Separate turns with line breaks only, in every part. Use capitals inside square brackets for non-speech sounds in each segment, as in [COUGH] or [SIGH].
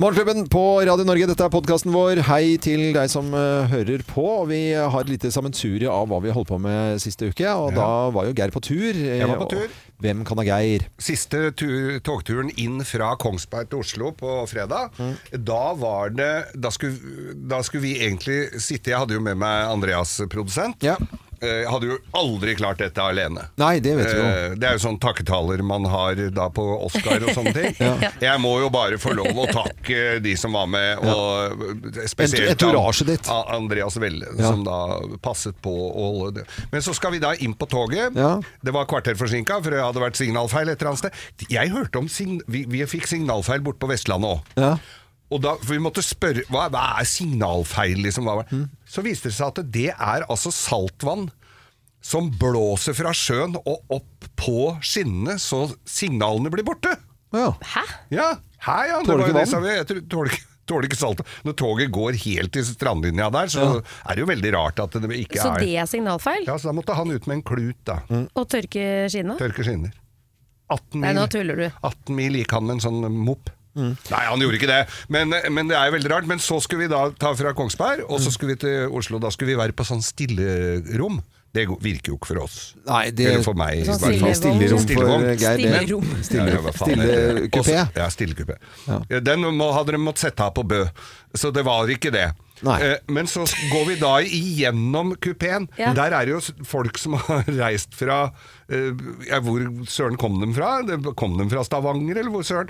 Morgenklubben på Radio Norge, dette er podkasten vår. Hei til deg som eh, hører på. Vi har et lite sammensurie av hva vi holdt på med siste uke, og da var jo Geir på tur. Jeg
var på tur.
Hvem kan da Geir?
Siste tur, togturen inn fra Kongsberg til Oslo på fredag, da var det da skulle, da skulle vi egentlig sitte Jeg hadde jo med meg Andreas, produsent.
Ja.
Eh, Jeg hadde jo aldri klart dette alene.
Nei, det vet vi jo.
Eh, Det er jo sånn takketaler man har da på Oscar og sånne
[LAUGHS]
ting. Jeg må jo bare få lov å takke de som var med, og spesielt
Entourage ditt.
A- Andreas Velle,
Ja.
som da passet på å holde det. Men så skal vi da inn på toget.
Ja.
Det var kvarter forsinka, for det hadde vært signalfeil et eller annet sted. Jeg hørte om sign vi, vi fikk signalfeil borte på Vestlandet òg.
Ja.
Og da, for vi måtte spørre hva, hva er signalfeil, liksom? Hva, var-
Mm.
Så viste det seg at det er altså saltvann som blåser fra sjøen og opp på skinnene, så signalene blir borte.
ja.
Hæ?
Ja, her ja. det
Tåler
var jo
ikke
det
vann?
samme. Jeg tror- tåler ikke- Tåler ikke salt. Når toget går helt til strandlinja der, så er det jo veldig rart at det ikke
Så
er
det er signalfeil?
Ja, Så da måtte han ut med en klut, da.
Mm.
Å tørke skinna?
Tørke skinner. 18
Nei,
mil.
nå tuller du.
18 mil gikk han med en sånn mopp.
Mm.
Nei, han gjorde ikke det, men, men det er jo veldig rart. Men så skulle vi da ta fra Kongsberg, og
Mm.
så skulle vi til Oslo. Da skulle vi være på sånn stillerom. Det go- virker jo ikke for oss.
Nei, det
Eller for meg, i
Sånn
hvert fall.
stillerom.
Stillerom for
Stillerom.
Geir. det-
Stillerom.
Ja,
Stille,
ja, hva faen heter
stille
det?
kupé.
Også- Ja, stillekupé. Den må, hadde de måttet sette av på Bø, så det var ikke det.
Nei.
Eh, Men så går vi da igjennom kupeen.
Ja.
Der er det jo s- folk som [LAUGHS] har reist fra eh, ja, Hvor søren kom de fra? Det- Kom de fra Stavanger, eller hvor søren?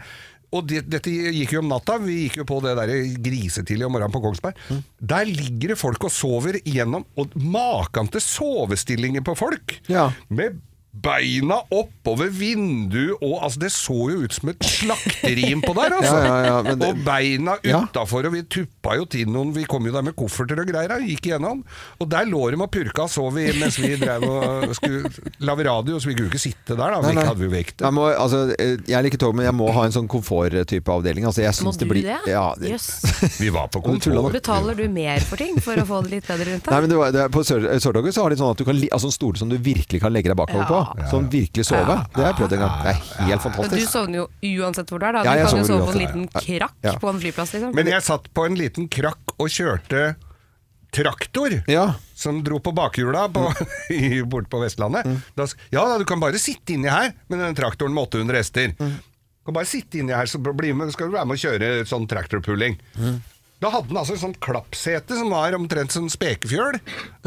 Og det, dette gikk jo om natta. Vi gikk jo på det der grisetidlig om morgenen på Kongsberg.
Mm.
Der ligger det folk og sover igjennom. Og maken til sovestillinger på folk!
Ja.
Med beina oppover vinduet og altså, Det så jo ut som et slakterim på der, altså!
Ja, ja, ja, men det-
Og beina
Ja.
utafor, og vi tuppa jo til noen Vi kom jo der med kofferter og greier, og gikk igjennom. Og der lå de og purka og sov vi mens vi drev og skulle lage radio, så vi kunne jo ikke sitte der, da. Vi ikke hadde vi jo vekt.
Jeg, må, altså, eh, jeg liker tog, men jeg må ha en sånn komforttype avdeling. Altså, jeg
Må
syns
du
det blir
det?
Ja, det, [LAUGHS]
Jøss.
Vi var på
Men tulla
kontor.
nok.
Betaler du mer for ting for å få det litt bedre rundt
Nei,
deg?
men det var, det, er- På Sør- Sørtoget så har de sånn at du kan li, altså en stol som du virkelig kan legge deg bakover på.
Ja.
Som virkelig sove. Det har jeg prøvd en gang. Det er helt
Og du
fantastisk.
sovner jo uansett hvor du er, da. Du
Ja, jeg
kan jo
sover
sove på en
uansett.
liten krakk
Ja.
på en flyplass, liksom.
Men jeg satt på en liten krakk og kjørte traktor.
Ja. Mm.
Som dro på bakhjula på, [LAUGHS] i- bort på Vestlandet. Da s- ja da, du kan bare sitte inni her med den traktoren med 800 hester.
Mm.
Du kan bare sitte inni her, så bli med, skal du være med og kjøre sånn traktorpulling.
Mm.
Da hadde den altså et sånt klappsete som var omtrent som spekefjøl,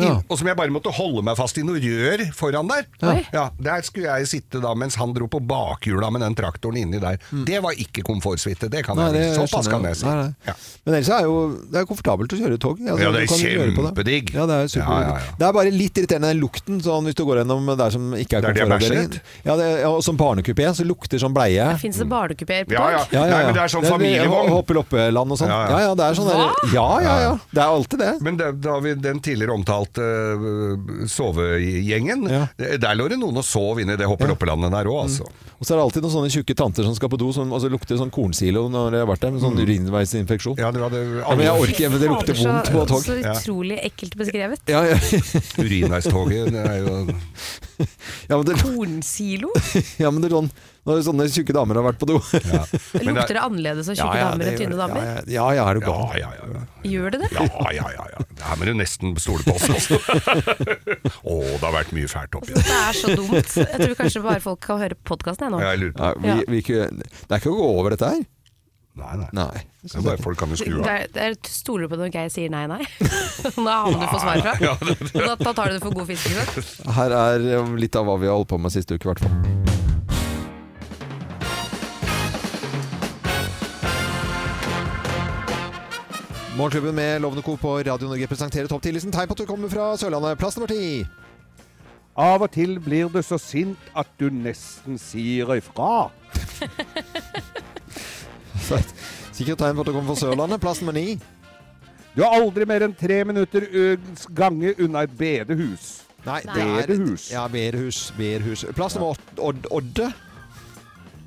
inn-
Ja.
og som jeg bare måtte holde meg fast i noe rør foran der. Ja.
Oi.
Der skulle jeg sitte da mens han dro på bakhjula med den traktoren inni der. Det var ikke komfortsuite, det kan
Mm. Nei,
jeg
det
si. Såpass
skjønner
kan jeg si.
Nei, nei.
Ja.
Men ellers er jo, det er komfortabelt å kjøre tog. Altså,
Ja, det er
du kan gjøre på det.
kjempedigg.
Ja, det er super
Ja, ja, ja.
Det er bare litt irriterende den lukten sånn, hvis du går gjennom der som ikke er
Der de har
komfortavdelingen.
bæsjet?
Ja, det, ja, og som barnekupé så lukter som bleie.
Fins det barnekupeer på
Ja, ja.
tog? [LAUGHS]
Ja, ja, ja.
Nei, men det er sånn familievogn.
Hoppe-loppeland og sånn.
Ja,
Ja,
ja.
ja. det er sånn der, ja, ja, ja. Det er alltid det.
Men da, da vi den tidligere omtalte øh, sovegjengen,
Ja.
der lå det noen og sov inne i det hopper-hopper-landet der òg, altså.
Mm. Og så er det alltid noen sånne tjukke tanter som skal på do, som altså, lukter sånn kornsilo når jeg har vært der, med sånn urinveisinfeksjon.
Mm. Ja,
Ja.
du hadde
men jeg
alle
orker ikke, men det lukter
Fader,
vondt
så-
på tog.
Så utrolig ekkelt beskrevet.
Ja, ja,
urinveistoget. Det er jo
ja, men det,
Kornsilo?
ja, men det er sånn Når sånne tjukke damer har vært på do.
ja. Men
Lukter det annerledes av tjukke damer enn tynne damer?
Ja, ja, ja, er du
Ja,
gal.
ja, ja. ja.
Gjør det det?
Ja,
[LAUGHS]
ja, ja, ja. Det her må du nesten stole på oss
[LAUGHS]
også. Å, det har vært mye fælt oppi der.
Det Altså, er så dumt. Jeg tror kanskje bare folk kan høre podkasten nå.
Jeg lurer på
Nei, vi, vi, ikke- det er ikke å gå over dette her.
Nei, nei.
Nei.
Det er bare folk kan jo skru av.
Der, der stoler du på når Geir sier nei, [LAUGHS] nei. Da havner du på svar fra. Da, da tar du det for god fisk. ikke sant?
Her er eh, litt av hva vi har holdt på med siste uke, i hvert fall. Morgenklubben med Lovende Co. på Radio Norge presenterer topp 10-listen. Tegn på at du kommer fra Sørlandet. Plass nummer ti.
Av og til blir du så sint at du nesten sier
[LAUGHS]
ifra.
Sikkert tegn på at du kommer fra Sørlandet. Plass nummer ni.
Du er aldri mer enn tre minutter ø, gange unna et bedehus.
Nei,
Berhus.
Ja, Berhus. Berhus. Plass nummer åt- Odd- Odde.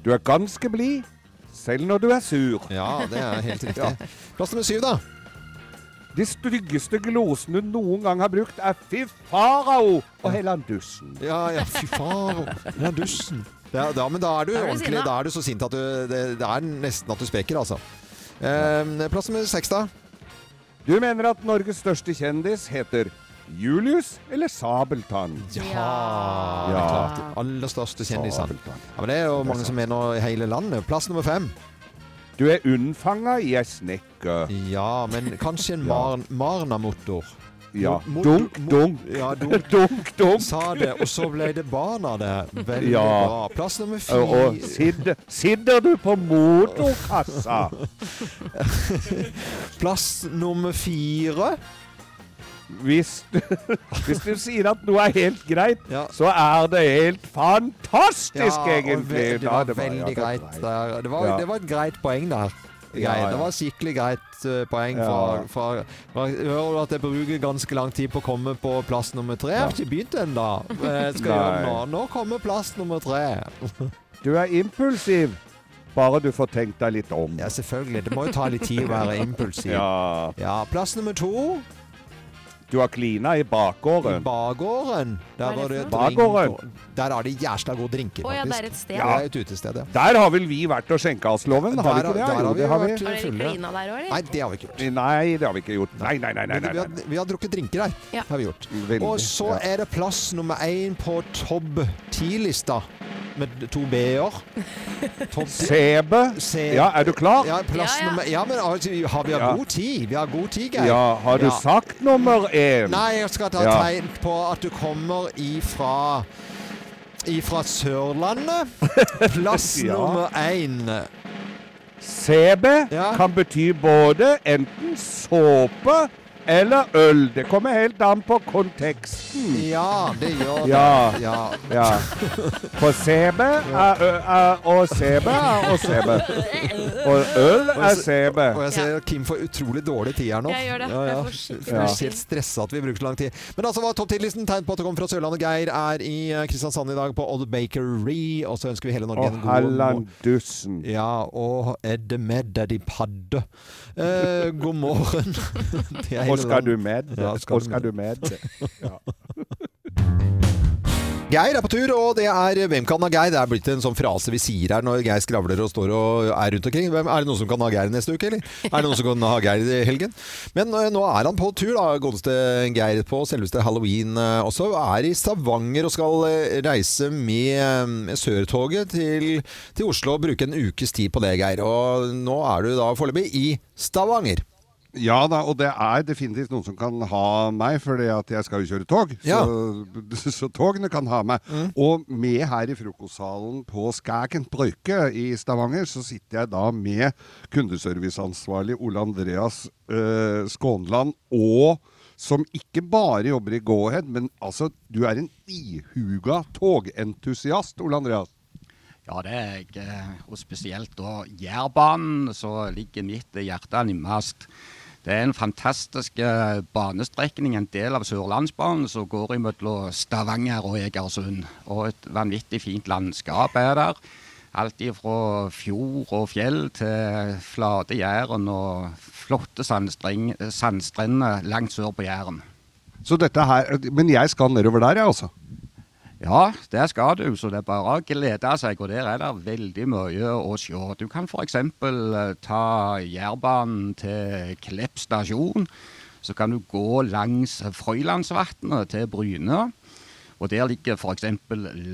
Du er ganske blid, selv når du er sur.
Ja, det er helt riktig. Plass nummer syv, da.
De styggeste glosene du noen gang har brukt, er fy farao og hellandussen.
Ja, ja, fy faen. Den er dussen. Ja, da, men da er du,
Da er du
ordentlig
sinna.
Da er du så sint at du Det, det er nesten at du sprekker, altså. Eh, plass nummer seks, da.
Du mener at Norges største kjendis heter Julius eller Sabeltann?
Ja, det er klart. Aller største kjendisene.
Sabeltann.
Ja, men det er jo mange som er nå i hele landet. Plass nummer fem.
Du er unnfanga i ei snekker.
Ja, men kanskje en mar Marna-motor.
Ja.
Mo- mo-
Dunk,
mo-
dunk. [LAUGHS]
Ja, dunk.
Dunk, dunk.
Sa det, og så ble det barn av det. Veldig
Ja.
bra. Plass nummer fire.
Og, og sitter, sitter du på motorkassa?
[LAUGHS] Plass nummer fire.
Hvis du, [LAUGHS] hvis du sier at noe er helt greit,
Ja.
så er det helt fantastisk,
og
egentlig.
ve- det
Ja,
var veldig
ja, det
greit.
var
der. Det var,
Ja.
det var et greit poeng der. Det
Ja,
greit.
ja.
Det var et skikkelig greit eh, poeng.
Ja.
Fra, fra, fra, hører du at jeg bruker ganske lang tid på å komme på plass nummer tre? Jeg har ikke begynt ennå. Eh, Skal jeg gjøre det nå. Nå kommer plass nummer tre.
[LAUGHS] Du er impulsiv, bare du får tenkt deg litt om.
Ja, selvfølgelig. Det må jo ta litt tid å være impulsiv. Ja.
[LAUGHS] Ja.
Plass nummer to.
Du har klina i
I
bakgården.
Bakgården.
Hva er
Der, var det
det
for noe?
drink- Der er det jæsla gode drinker,
Å ja, det er
faktisk.
et sted.
Det er et utested, ja.
Der har vel vi vært og skjenka oss loven? Har vi
Der
ikke det?
der
Jo,
har vi
det har vi.
vært
Har dere
fulle.
klina der òg, eller?
Nei, det har vi ikke gjort.
Nei, det har vi ikke gjort. Nei, nei, nei. nei,
Men
nei,
vi,
nei.
har, vi har drukket drinker her.
Ja.
Har vi gjort.
Veldig,
og så
ja.
er det plass nummer én på topp ti-lista, med to
[LAUGHS]
b-er. Topp ti-
Sebe.
Se-
Ja, er du klar?
Ja, plass
Ja, ja.
nummer Ja, men altså, vi har, vi har
Ja.
god tid. Vi har god tid, Geir.
Ja, har du
Ja.
sagt nummer én?
Nei, jeg skal ta
Ja.
tegn på at du kommer ifra
[LAUGHS]
Ifra Sørlandet. Plass
Ja.
nummer én.
Sebe
Ja.
kan bety både enten såpe eller øl. Det kommer helt an på konteksten.
Ja, det gjør det.
Ja.
ja.
Ja. For sebe er, ø, er og sebe er og sebe. Og øl er sebe.
Og jeg ser Kim får utrolig dårlig tid her nå.
Jeg gjør det. Jeg får skikkelig
Jeg
dårlig
blir helt stressa at vi bruker så lang tid. Men altså, hva er topp 10-listen? Tegn på at det kommer fra Sørlandet. Geir er i eh, Kristiansand i dag på Odd Bakery. Og så ønsker vi hele Norge
Og
en god morgen.
hallandussen.
Ja, og er det med deg de padde? Eh, god
[LAUGHS]
morgen. [LAUGHS] Det er hele
Og skal
landet.
du med?
Ja, skal
Og
du
skal
med.
du med?
[LAUGHS] Geir er på tur, og det er Hvem kan ha Geir? Det er blitt en sånn frase vi sier her når Geir skravler og står og er rundt omkring. Hvem, er det noen som kan ha Geir neste uke, eller? Er det noen som kan ha Geir i helgen? Men eh, nå er han på tur, da. Godeste Geir på selveste halloween eh, også. Er i Stavanger og skal eh, reise med eh, med Sørtoget til, til Oslo og bruke en ukes tid på det, Geir. Og nå er du da foreløpig i Stavanger.
Ja da, og det er definitivt noen som kan ha meg, for jeg skal jo kjøre tog.
Ja.
Så, [LAUGHS] så togene kan ha meg. Og med her i frokostsalen på Skæken Brøyke i Stavanger, så sitter jeg da med kundeserviceansvarlig Ole Andreas eh, Skånland, og som ikke bare jobber i Go-Ahead, men altså, du er en ihuga togentusiast, Ole Andreas.
Ja, det er jeg. eh, Og spesielt da Jærbanen, så ligger mitt hjerte nærmest. Det er en fantastisk eh, banestrekning, en del av Sørlandsbanen, som går mellom Stavanger og Egersund. Og et vanvittig fint landskap er der. Alt ifra fjord og fjell til flate Jæren og flotte sandstreng- sandstrender langt sør på Jæren.
Så dette her, Men jeg skal nedover der, jeg, altså.
Ja, der skal du, så det er bare å glede seg. Og der er det veldig mye å se. Du kan f.eks. ta Jærbanen til Klepp stasjon. Så kan du gå langs Frøylandsvatnet til Bryne. Og der ligger f.eks.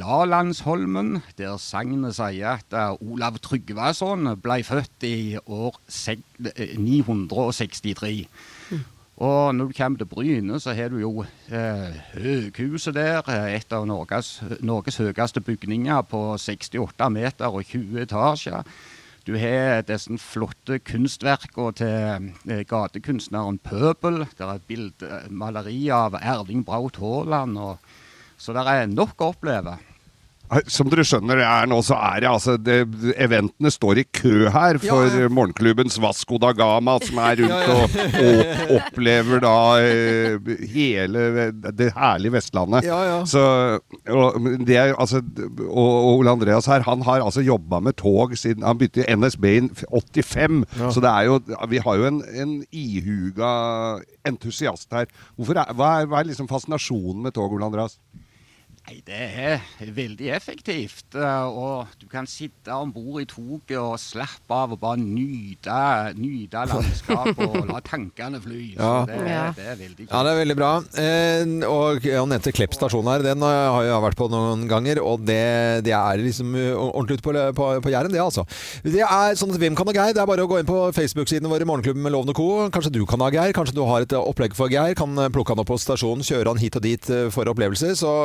Lalandsholmen, der sagnet sier at eh, Olav Tryggvason ble født i år sek- eh, 963. Og når du kommer til Bryne, så har du jo eh, høghuset der. eh, Et av Norges, Norges høyeste bygninger på 68 meter og 20 etasjer. Du har disse flotte kunstverkene til eh, gatekunstneren Pøbel. Der er bilde, maleri av Erling Braut Haaland. og- Så det er nok å oppleve.
Som dere skjønner det er nå, så er det altså det, Eventene står i kø her for
Ja, ja.
morgenklubbens Vasco da Gama, som
[LAUGHS]
er rundt og, og opplever da eh, hele det herlige Vestlandet.
Ja, ja.
Så, og, men det er, altså, og, og Ole Andreas her, han har altså jobba med tog siden Han begynte i NSB i 85, så det er jo Vi har jo en, en ihuga entusiast her. Hvorfor er, hva, er, hva er liksom fascinasjonen med tog, Ole Andreas?
Nei, det er veldig effektivt. eh, Og du kan sitte om bord i toget og slappe av og bare nyte, nyte landskapet og la tankene fly.
Ja.
Så det,
Ja.
det er veldig
Ja,
kult.
det er veldig bra. Eh, og han nevnte Klepp stasjon her. Den eh, har jeg vært på noen ganger, og det, det er liksom eh, ordentlig ute på, på, på Jæren, det, altså. Det er sånn at Hvem kan ha Geir? Det er bare å gå inn på Facebook-sidene våre, Morgenklubben med Lovende Co. Kanskje du kan ha Geir? Kanskje du har et eh, opplegg for Geir? Kan eh, plukke han opp på stasjonen, kjøre han hit og dit eh, for opplevelser? Så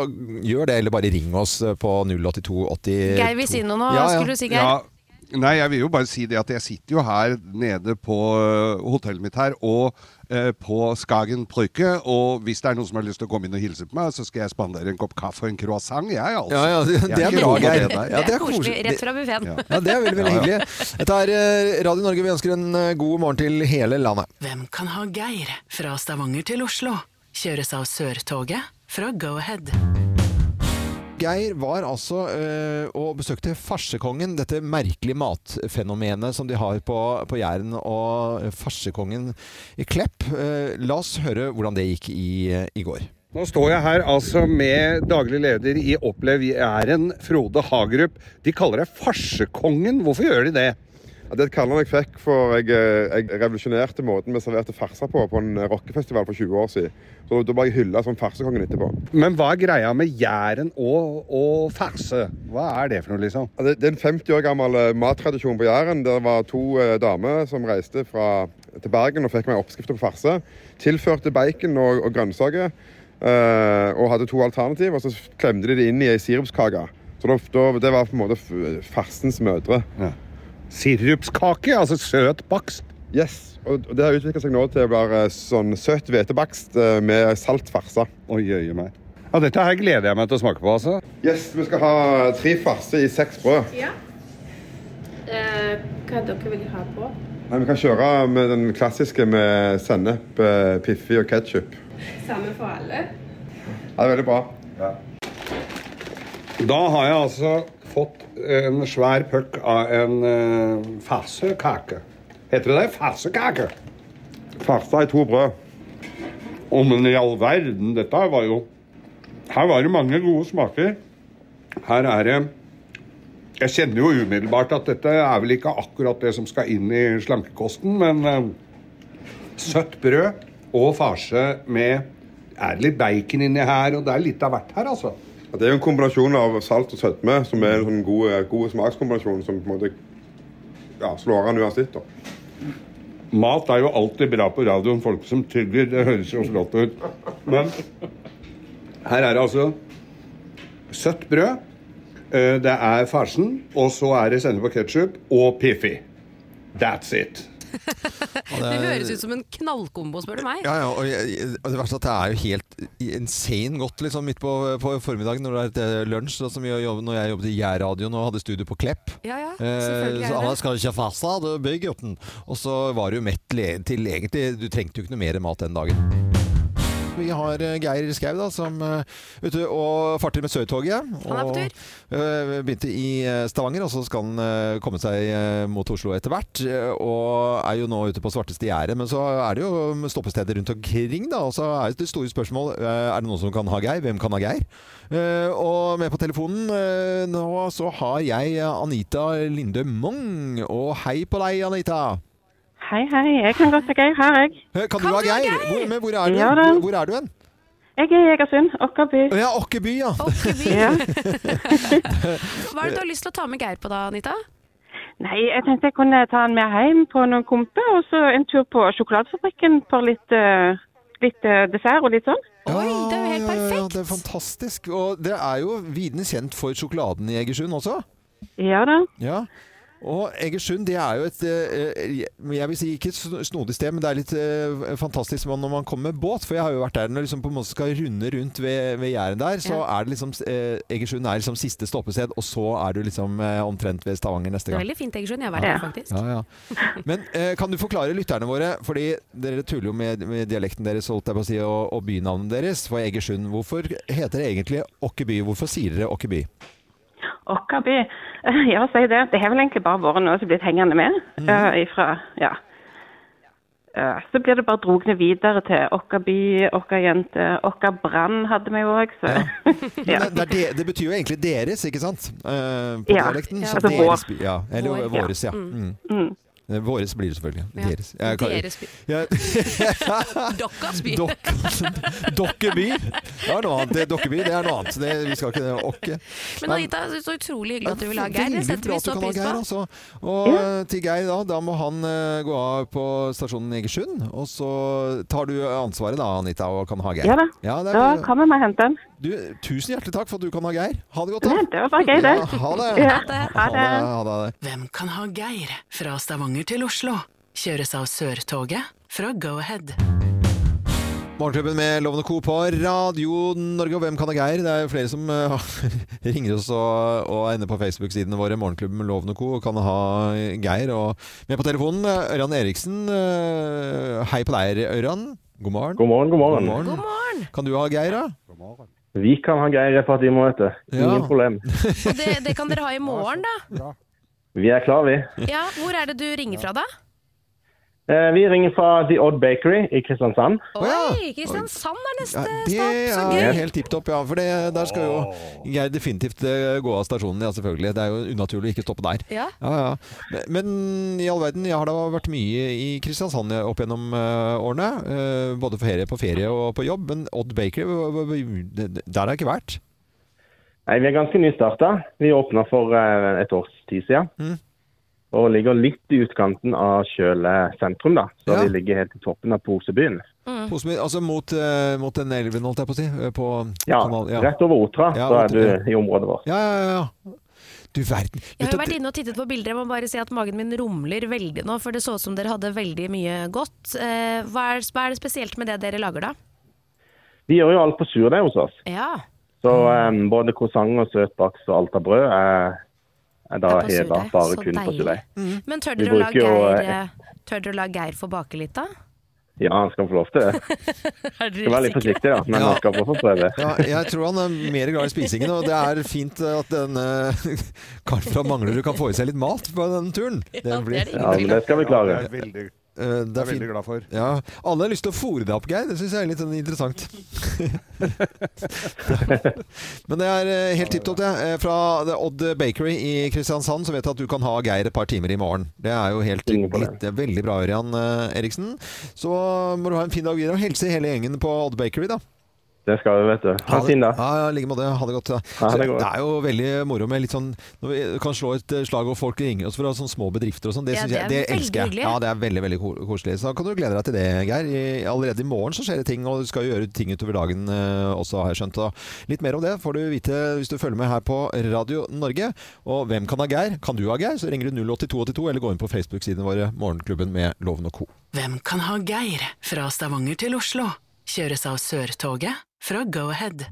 gjør det, eller bare ring oss eh, på 08280
Geir vil si noe nå. Hva skulle du si, Geir?
Ja, nei, jeg vil jo bare si det at jeg sitter jo her nede på øh, hotellet mitt her og øh, på Skagen Brygge, og hvis det er noen som har lyst til å komme inn og hilse på meg, så skal jeg spandere en kopp kaffe og en croissant, jeg altså.
Ja, ja, det, det
Jeg
er
ikke
bra,
god på
Geir.
det der.
Ja,
det er koselig. Rett fra buffeen.
Ja.
Ja, det er veldig, veldig
Ja,
hyggelig. Dette er eh, Radio Norge. Vi ønsker en eh, god morgen til hele landet.
Hvem kan ha Geir? Fra Stavanger til Oslo. Kjøres av Sørtoget fra Go-Ahead.
Geir var altså eh, og besøkte Farsekongen, dette merkelige matfenomenet som de har på, på Jæren, og Farsekongen i Klepp. Eh, la oss høre hvordan det gikk i, eh, i går.
Nå står jeg her altså med daglig leder i Opplev Jæren, Frode Hagerup. De kaller deg Farsekongen. Hvorfor gjør de det?
Ja, Det er et kallenavn jeg fikk, for jeg, eh, jeg revolusjonerte måten vi serverte farser på på en rockefestival for 20 år siden. Så Da ble jeg hylla som farsekongen etterpå.
Men hva er greia med Jæren og, og farse? Hva er det for noe, liksom?
Ja, Det det er en 50 år gammel eh, mattradisjon på Jæren. Der var to eh, damer som reiste fra, til Bergen og fikk meg oppskrifter på farse. Tilførte bacon og, og grønnsaker eh, og hadde to alternativ, og så klemte de det inn i ei sirupskake. Så da, da, det var på en måte f- farsens mødre.
Sirupskake? Altså søt bakst?
Yes, og og det har utvikla seg nå til å være sånn søt hvetebakst eh, med salt farse.
Å jøye meg. Ja, dette her gleder jeg meg til å smake på, altså.
Yes, vi skal ha tre farse i seks brød.
Ja. Eh, hva dere vil ha på?
Nei, vi kan kjøre med den klassiske med sennep, eh, piffi og ketsjup.
Samme for alle.
Det er veldig bra.
Da har jeg altså fått en svær pøkk av en uh, farsekake. Heter det det? Farsekake?
Farse i to brød.
Å, men i all verden, dette her var jo Her var det mange gode smaker. Her er det Jeg kjenner jo umiddelbart at dette er vel ikke akkurat det som skal inn i slankekosten, men eh, søtt brød og farse med Er det litt bacon inni her, og det er litt av hvert her, altså.
Ja, Det er jo en kombinasjon av salt og sødme som er en sånn god, eh, god smakskombinasjon som på en måte ja, slår an uansett. da.
Mat er jo alltid bra på radioen, folk som tygger. Det høres jo flott ut. Men her er det altså søtt brød. eh, Det er farsen, og så er det sennep og ketsjup og Piffi. That's it.
Det høres ut som en knallkombo, spør du meg.
Ja, ja, og, jeg- og det verste er at det er jo helt insane godt liksom, midt på, på formiddagen når det er eh, lunsj, sånn som vi jobbet, når jeg jobbet i Jærradioen og hadde studio på Klepp.
Ja, ja, selvfølgelig
Eh,
er
så
det
alle
[LAUGHS] det.
skal ikke ha farse, du bygg opp den. Og så var du jo mett le- til egentlig Du trengte jo ikke noe mer mat den dagen. Vi har eh, Geir Skau, da, som eh, ute og farter med Sørtoget.
Han er på tur.
Og eh, begynte i eh, Stavanger, og så skal han eh, komme seg eh, mot Oslo etter hvert. eh, Og er jo nå ute på svarteste gjerdet. Men så er det jo stoppesteder rundt omkring, da. Og så er det store spørsmål eh, Er det noen som kan ha Geir? Hvem kan ha Geir? Eh, Og med på telefonen eh, nå så har jeg eh, Anita Linde Mong. Og hei på deg, Anita.
Hei, hei. Jeg kan godt til Geir her, jeg.
Eh, Kan, du ha Geir? Hvor, men hvor er du?
Ja da.
hvor, hvor er du hen?
Jeg er i Egersund, Åkkerby.
Ja, Åkkerby, ja.
Åkeby.
[LAUGHS]
Ja.
Hva er det du har lyst til å ta med Geir på da, Anita?
Nei, jeg tenkte jeg kunne ta han med hjem på noen kompe, og så en tur på sjokoladefabrikken for litt, eh, litt eh, dessert og litt sånn.
Oi, det er
Ja,
jo helt
ja, ja,
perfekt.
det er fantastisk. Og det er jo vidende kjent for sjokoladen i Egersund også.
Ja da.
Ja. Og Egersund det er jo et eh, Jeg vil si ikke et sn- snodig sted, men det er litt eh, fantastisk man- når man kommer med båt. For jeg har jo vært der når liksom på en måte skal runde rundt ved, ved Jæren der, så
Ja.
er det liksom eh, Egersund er liksom siste stoppested, og så er du liksom eh, omtrent ved Stavanger neste
Det er
gang.
veldig fint, Egersund. Jeg har vært der, faktisk.
Ja, ja. Men eh, kan du forklare lytterne våre, fordi dere tuller jo med, med dialekten deres holdt jeg på å si, og, og bynavnet deres, for Egersund. Hvorfor heter det egentlig Åkkerby? Hvorfor sier dere Åkkerby?
Åkkerby. [LAUGHS] Ja, si det. Det har vel egentlig bare vært noe som blitt hengende med.
Mhm.
eh, ifra, ja. Eh, så blir det bare drogne videre til Åkkerby, Åkkerjente, Åkkerbrann hadde vi jo òg, så [LAUGHS]
Men det, det, er de, det betyr jo egentlig deres, ikke sant? Eh, på
Ja.
dialekten.
Ja.
Så
Altså
deres,
vår.
by- ja. Eller
Vår, ja.
våres, ja. Mm. Eh, Våres blir det selvfølgelig.
Ja.
Deres. Jeg kan-
Deres by.
Ja. [LAUGHS]
Dokkas by.
Dok- Dokkeby. Det er noe annet. Dokkeby, det er noe annet. Det, vi skal ikke okke.
[LAUGHS] Men Anita, så utrolig hyggelig at du vil ha Geir.
Veldig
Det setter
bra
vi
at du
stor
kan ha
pris
Geir,
på.
altså. Og eh, til Geir, da. Da må han eh, gå av på stasjonen i Egersund. Og så tar du ansvaret da, Anita, og kan ha Geir.
ja da.
det
Da
er,
kommer vi og henter den.
du, tusen hjertelig takk for at du kan ha Geir. Ha det godt,
Nei,
da.
Det var bare gøy, det.
Ja, ha det.
Ja,
Ha
ha
det.
det.
Ha det.
Hvem kan ha Geir? Fra Stavanger til Oslo. Kjøres av Sørtoget fra Go-Ahead.
Morgenklubben med Lovende Co. på Radio Norge, og hvem kan det Geir? Det er jo flere som eh, [LAUGHS] ringer oss og, og er inne på Facebook-sidene våre. Morgenklubben med Lovende Co. og kan ha Geir. Og med på telefonen, eh, Ørjan Eriksen. Eh, Hei på deg, Ørjan. God morgen.
God morgen, god morgen.
God morgen!
Kan du ha Geir, da?
Vi kan ha Geir et par timer, vet du. Ingen
Ja.
problem.
Og det, det kan
[LAUGHS]
dere ha i morgen, da.
Vi er klar, vi.
[LAUGHS] Ja, Hvor er det du ringer fra, da?
Eh, vi ringer fra The Odd Bakery i Kristiansand.
Å, ja.
Oi, Kristiansand er neste
Ja, det
stopp. Så
er
gøy!
helt tipp topp, ja. For det, der skal jo Geir definitivt eh, gå av stasjonen, ja selvfølgelig. Det er jo unaturlig å ikke stoppe der.
Ja.
Ja, ja. Men- Men i all verden, jeg har da vært mye i Kristiansand opp gjennom eh, årene. eh, både på ferie, på ferie og på jobb. Men Odd Bakery, hva- hva- hva- det- der har jeg ikke vært.
Nei, vi er ganske nystarta. Vi åpna for eh, et års tid siden.
Mhm.
Og ligger litt i utkanten av Kjøle sentrum, da. Så
Ja.
vi ligger helt i toppen av Posebyen.
Poseby, altså mot, eh, mot den elven, holdt jeg på å si. eh, På
Ja,
kanal, ja.
rett over Otra,
Ja,
så
Otra,
er du i området vårt.
Ja, ja, ja, ja. Du verden.
Jeg har jo
Vet
vært
du-
inne og tittet på bilder. Jeg må bare si at magen min rumler veldig nå, for det så ut som dere hadde veldig mye godt. Eh, Hva er, hva er det spesielt med det dere lager, da?
Vi gjør jo alt på surdeig hos oss.
Ja,
Så
Mm.
eh, både croissant og søtbaks og alt av brød er, er da
det er
heva
surdeig.
bare
Så
kun på
deilig.
surdeig.
Men tør
Vi
dere å la
bruker jo,
Geir, eh, tør dere å la Geir få bake litt, da?
Ja, han skal få lov
[LAUGHS]
til det.
Er
Skal være
dere
litt
sikre?
forsiktig, da. Men
Ja.
han skal få få prøve.
Ja, jeg tror han er mer glad i spisingen, og det er fint at denne [LAUGHS] karen fra Manglerud kan få i seg litt mat på den turen. Det, blir,
det er det.
Ja, men det skal vi klare.
Jeg er veldig,
eh, det er fint.
veldig glad for.
Ja, alle har lyst til å fôre deg opp, Geir. Det syns jeg er litt sånn interessant.
[LAUGHS]
Men det er eh, helt tipp topp, det. Eh, Fra The Odd Bakery i Kristiansand så vet jeg at du kan ha Geir et par timer i morgen. Det er jo helt
Ingen problem.
glitt- det er veldig bra, Ørjan eh, Eriksen. Så må du ha en fin dag videre, og hilse hele gjengen på Odd Bakery, da.
Det skal vi, vet du. Ha en fin dag.
Ja, ja, i like måte. Ha det godt. Ja.
Ja, ha det
Så
godt.
det er jo veldig moro med litt sånn Når vi kan slå et eh, slag og folk ringer oss fra sånne små bedrifter og sånn. Det,
Ja,
synes
det
jeg,
er
det
veldig
elsker jeg.
hyggelig.
Ja, det er veldig veldig ko- koselig. Så da kan du glede deg til det, Geir. I- Allerede i morgen så skjer det ting, og du skal jo gjøre ting utover dagen eh, også, har jeg skjønt. Og litt mer om det får du vite hvis du følger med her på Radio Norge. Og hvem kan ha Geir? Kan du ha Geir? Så ringer du 08282, eller gå inn på Facebook-sidene våre, Morgenklubben med Loven og co.
Hvem kan ha Geir? Fra Stavanger til Oslo. Kjøres av Sørtoget fra Go-Ahead.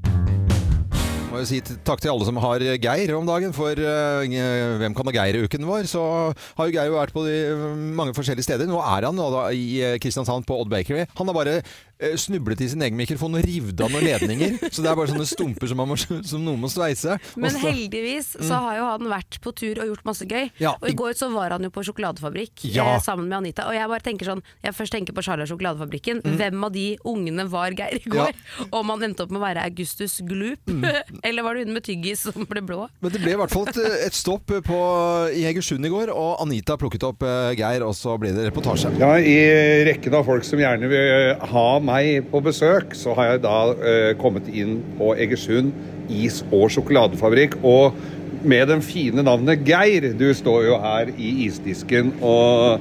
må jo si t- takk til alle som har eh, Geir om dagen, for eh, Hvem kan ha Geir-uken vår? Så har jo Geir vært på de eh, mange forskjellige steder. Nå er han nå da i eh, Kristiansand på Odd Bakery. Han har bare eh, snublet i sin egen mikrofon og revet av noen ledninger. så det er bare sånne stumper som, man må, som noen må sveise. Og
Men
så-
heldigvis
Mm.
så har jo han vært på tur og gjort masse gøy.
Ja,
og i går så var han jo på sjokoladefabrikk
Ja.
eh, sammen med Anita. Og jeg bare tenker sånn, jeg først tenker på Charlie og sjokoladefabrikken. Hvem av de ungene var Geir i går? Om han endte opp med å være Augustus Gloop, [LAUGHS] eller var det hun med tyggis som ble blå?
Men det ble i hvert fall et, eh, et stopp på, i Egersund i går, og Anita plukket opp eh, Geir, og så ble det reportasje.
Ja, I rekken av folk som gjerne vil eh, ha meg på besøk, så har jeg da eh, kommet inn på Egersund is- og sjokoladefabrikk. Og med den fine navnet Geir, du står jo her i isdisken og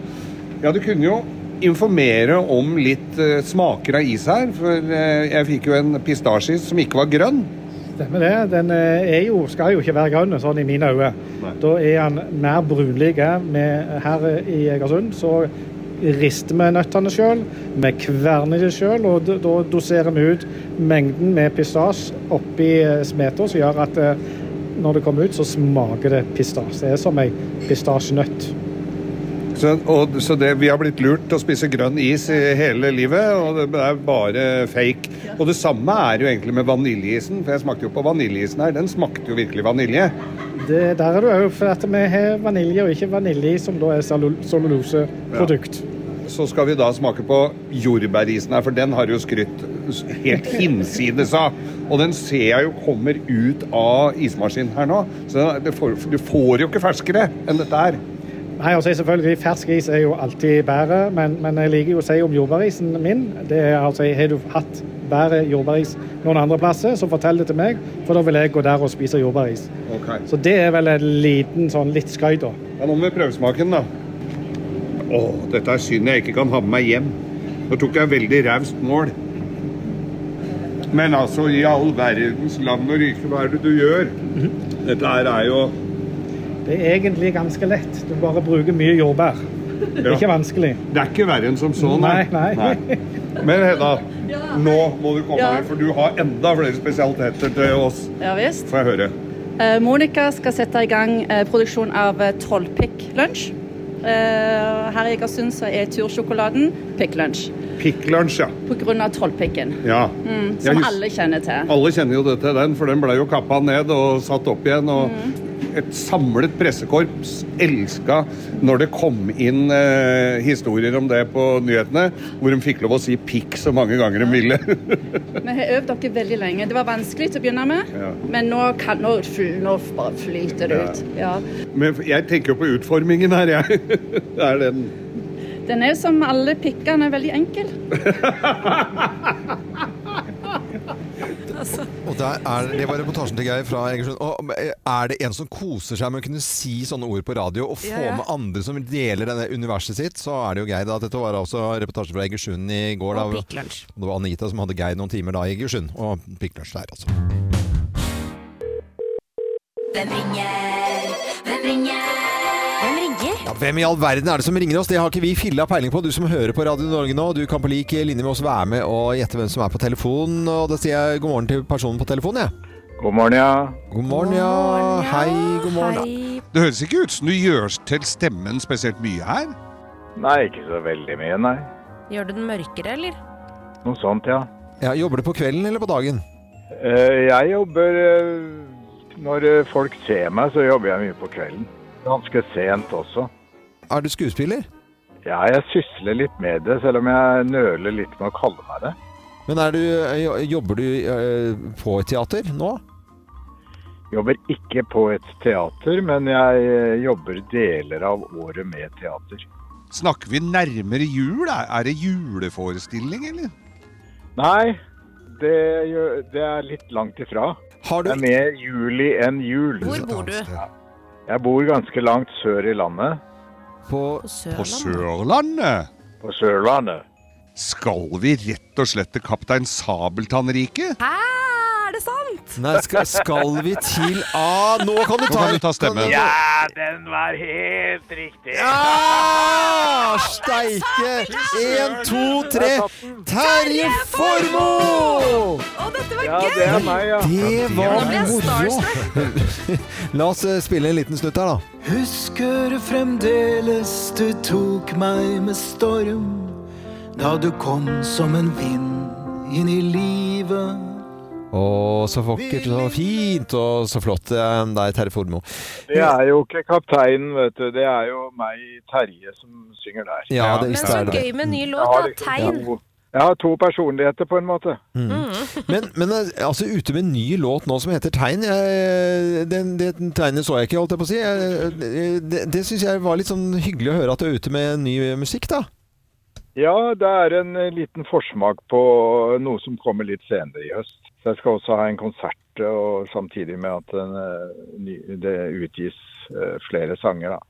Ja, du kunne jo informere om litt eh, smaker av is her, for eh, jeg fikk jo en pistasjeis som ikke var grønn.
Stemmer det. Den eh, er jo, skal jo ikke være grønn, sånn i mine øyne. Da er han mer brunlig. Vi her i Egersund så rister vi nøttene sjøl, vi kverner det sjøl, og d- da doserer vi ut mengden med pistas oppi eh, smeta, som gjør at eh, når det kommer ut, så smaker det pistas. Det er som ei pistasjenøtt.
Så, og, så det, vi har blitt lurt til å spise grønn is i hele livet, og det er bare fake. Og det samme er jo egentlig med vaniljeisen, for jeg smakte jo på vaniljeisen her. Den smakte jo virkelig vanilje.
Det, der er du òg, for at vi har vanilje og ikke vanilje, som da er cellu- celluloseprodukt.
Så skal vi da smake på jordbærisen her, for den har jo skrytt helt hinsides av. Og den ser jeg jo kommer ut av ismaskinen her nå. Så det får, du får jo ikke ferskere enn dette her.
Nei, altså selvfølgelig, Fersk is er jo alltid bedre, men, men jeg liker jo å si om jordbærisen min det er altså, Har du hatt bedre jordbæris noen andre plasser, så fortell det til meg, for da vil jeg gå der og spise jordbæris. Så det er vel en liten sånn litt skøy, da.
Ja, nå må vi prøve smaken, da. Å, dette er synd jeg ikke kan ha med meg hjem. Nå tok jeg veldig raust mål. Men altså, i all verdens land og rike, hva er det du gjør?
Mhm.
Dette her er jo
Det er egentlig ganske lett. Du bare bruker mye jordbær. Det er
Ja.
ikke vanskelig.
Det er ikke verre enn som så, nei.
Nei, nei.
Men Hedda, nå må du komme
Ja.
her, for du har enda flere spesialiteter til oss.
Ja visst.
Får jeg høre.
[LAUGHS] Eh, Monica skal sette i gang eh, produksjon av eh, Trollpikk lunsj. Eh, her i Egersund så er tursjokoladen Pikk lunsj
Pikklunsj, ja.
pga. trollpikken.
ja.
Mm,
Jeg
som
hus-
alle kjenner til.
Alle kjenner jo det til den, for den ble jo kappa ned og satt opp igjen. Og et samlet pressekorps elska når det kom inn eh, historier om det på nyhetene, hvor de fikk lov å si pikk så mange ganger de ville.
Vi har øvd dere veldig lenge. Det var vanskelig til å begynne med,
Ja.
men nå, kan, nå, fl- nå bare flyter det ut. Ja.
[LAUGHS] Men jeg tenker jo på utformingen her, jeg. [LAUGHS] Det er den.
Den er jo som alle pikkene, veldig enkel.
Altså,
Og der er, det var reportasjen til Geir fra Egersund. Og eh, er det en som koser seg med å kunne si sånne ord på radio, og få
Ja, ja.
med andre som deler denne universet sitt, så er det jo Geir. da. Dette var altså reportasjen fra Egersund i går.
Og
da.
pikklunsj.
Det var Anita som hadde Geir noen timer da i Egersund. Og pikklunsj der, altså.
Hvem ringer? Hvem ringer? Hvem ringer?
Ja, hvem i all verden er det som ringer oss? Det har ikke vi filla peiling på. Du som hører på Radio Norge nå, du kan på lik linje med oss være med og gjette hvem som er på telefonen. Og da sier jeg god morgen til personen på telefonen, jeg.
God morgen, ja.
God morgen, ja. Hei, god morgen.
Det høres ikke ut som du gjør til stemmen spesielt mye her.
Nei, ikke så veldig mye, nei.
Gjør du den mørkere, eller?
Noe sånt, ja.
Ja, jobber du på kvelden eller på dagen?
Eh, Jeg jobber eh, Når eh, folk ser meg, så jobber jeg mye på kvelden. Ganske sent også.
Er du skuespiller?
Ja, jeg sysler litt med det, selv om jeg nøler litt med å kalle meg det.
Men er du, jo- jobber du eh, på et teater nå?
Jobber ikke på et teater, men jeg eh, jobber deler av året med teater.
Snakker vi nærmere jul? Er er det juleforestilling, eller?
Nei, det, gjør- det er litt langt ifra. Det er mer juli enn jul.
Hvor bor du?
Jeg bor ganske langt sør i landet.
På,
På
Sørlandet?
Sørlandet?
På Sørlandet.
Skal vi rett og slett til Kaptein Sabeltann-riket?
Hæ, er det sant?
Nei, skal, skal vi til ah, Nå kan du
Nå
ta,
kan du ta stemmen.
Ja, den var helt riktig!
Ja! Steike! Én, to, tre. Terje Formoe!
Å, dette var
Ja,
gøy!
det er meg, ja.
Det var
Nå ble jeg starstruck.
moro! [LAUGHS] La oss eh, spille en liten snutt her, da.
Husker fremdeles du tok meg med storm da du kom som en vind inn i livet.
Å, så vakkert og så fint og så flott eh, det er, Terje Formoe.
Det er jo ikke kapteinen, vet du. Det er jo meg, Terje, som synger der.
Ja, det Men visste så jeg det. gøy
med ny
Jeg
låt,
har
da.
liksom
Tegn.
to- Jeg har to personligheter, på en måte.
Men, men eh, altså, ute med en ny låt nå som heter Tegn. Jeg, den, det tegnet så jeg ikke, holdt jeg på å si. Jeg, det det syns jeg var litt sånn hyggelig å høre at du er ute med ny musikk, da.
Ja, det er en eh, liten forsmak på noe som kommer litt senere i høst. Så jeg skal også ha en konsert, og samtidig med at den, eh, ny- det utgis eh, flere sanger, da.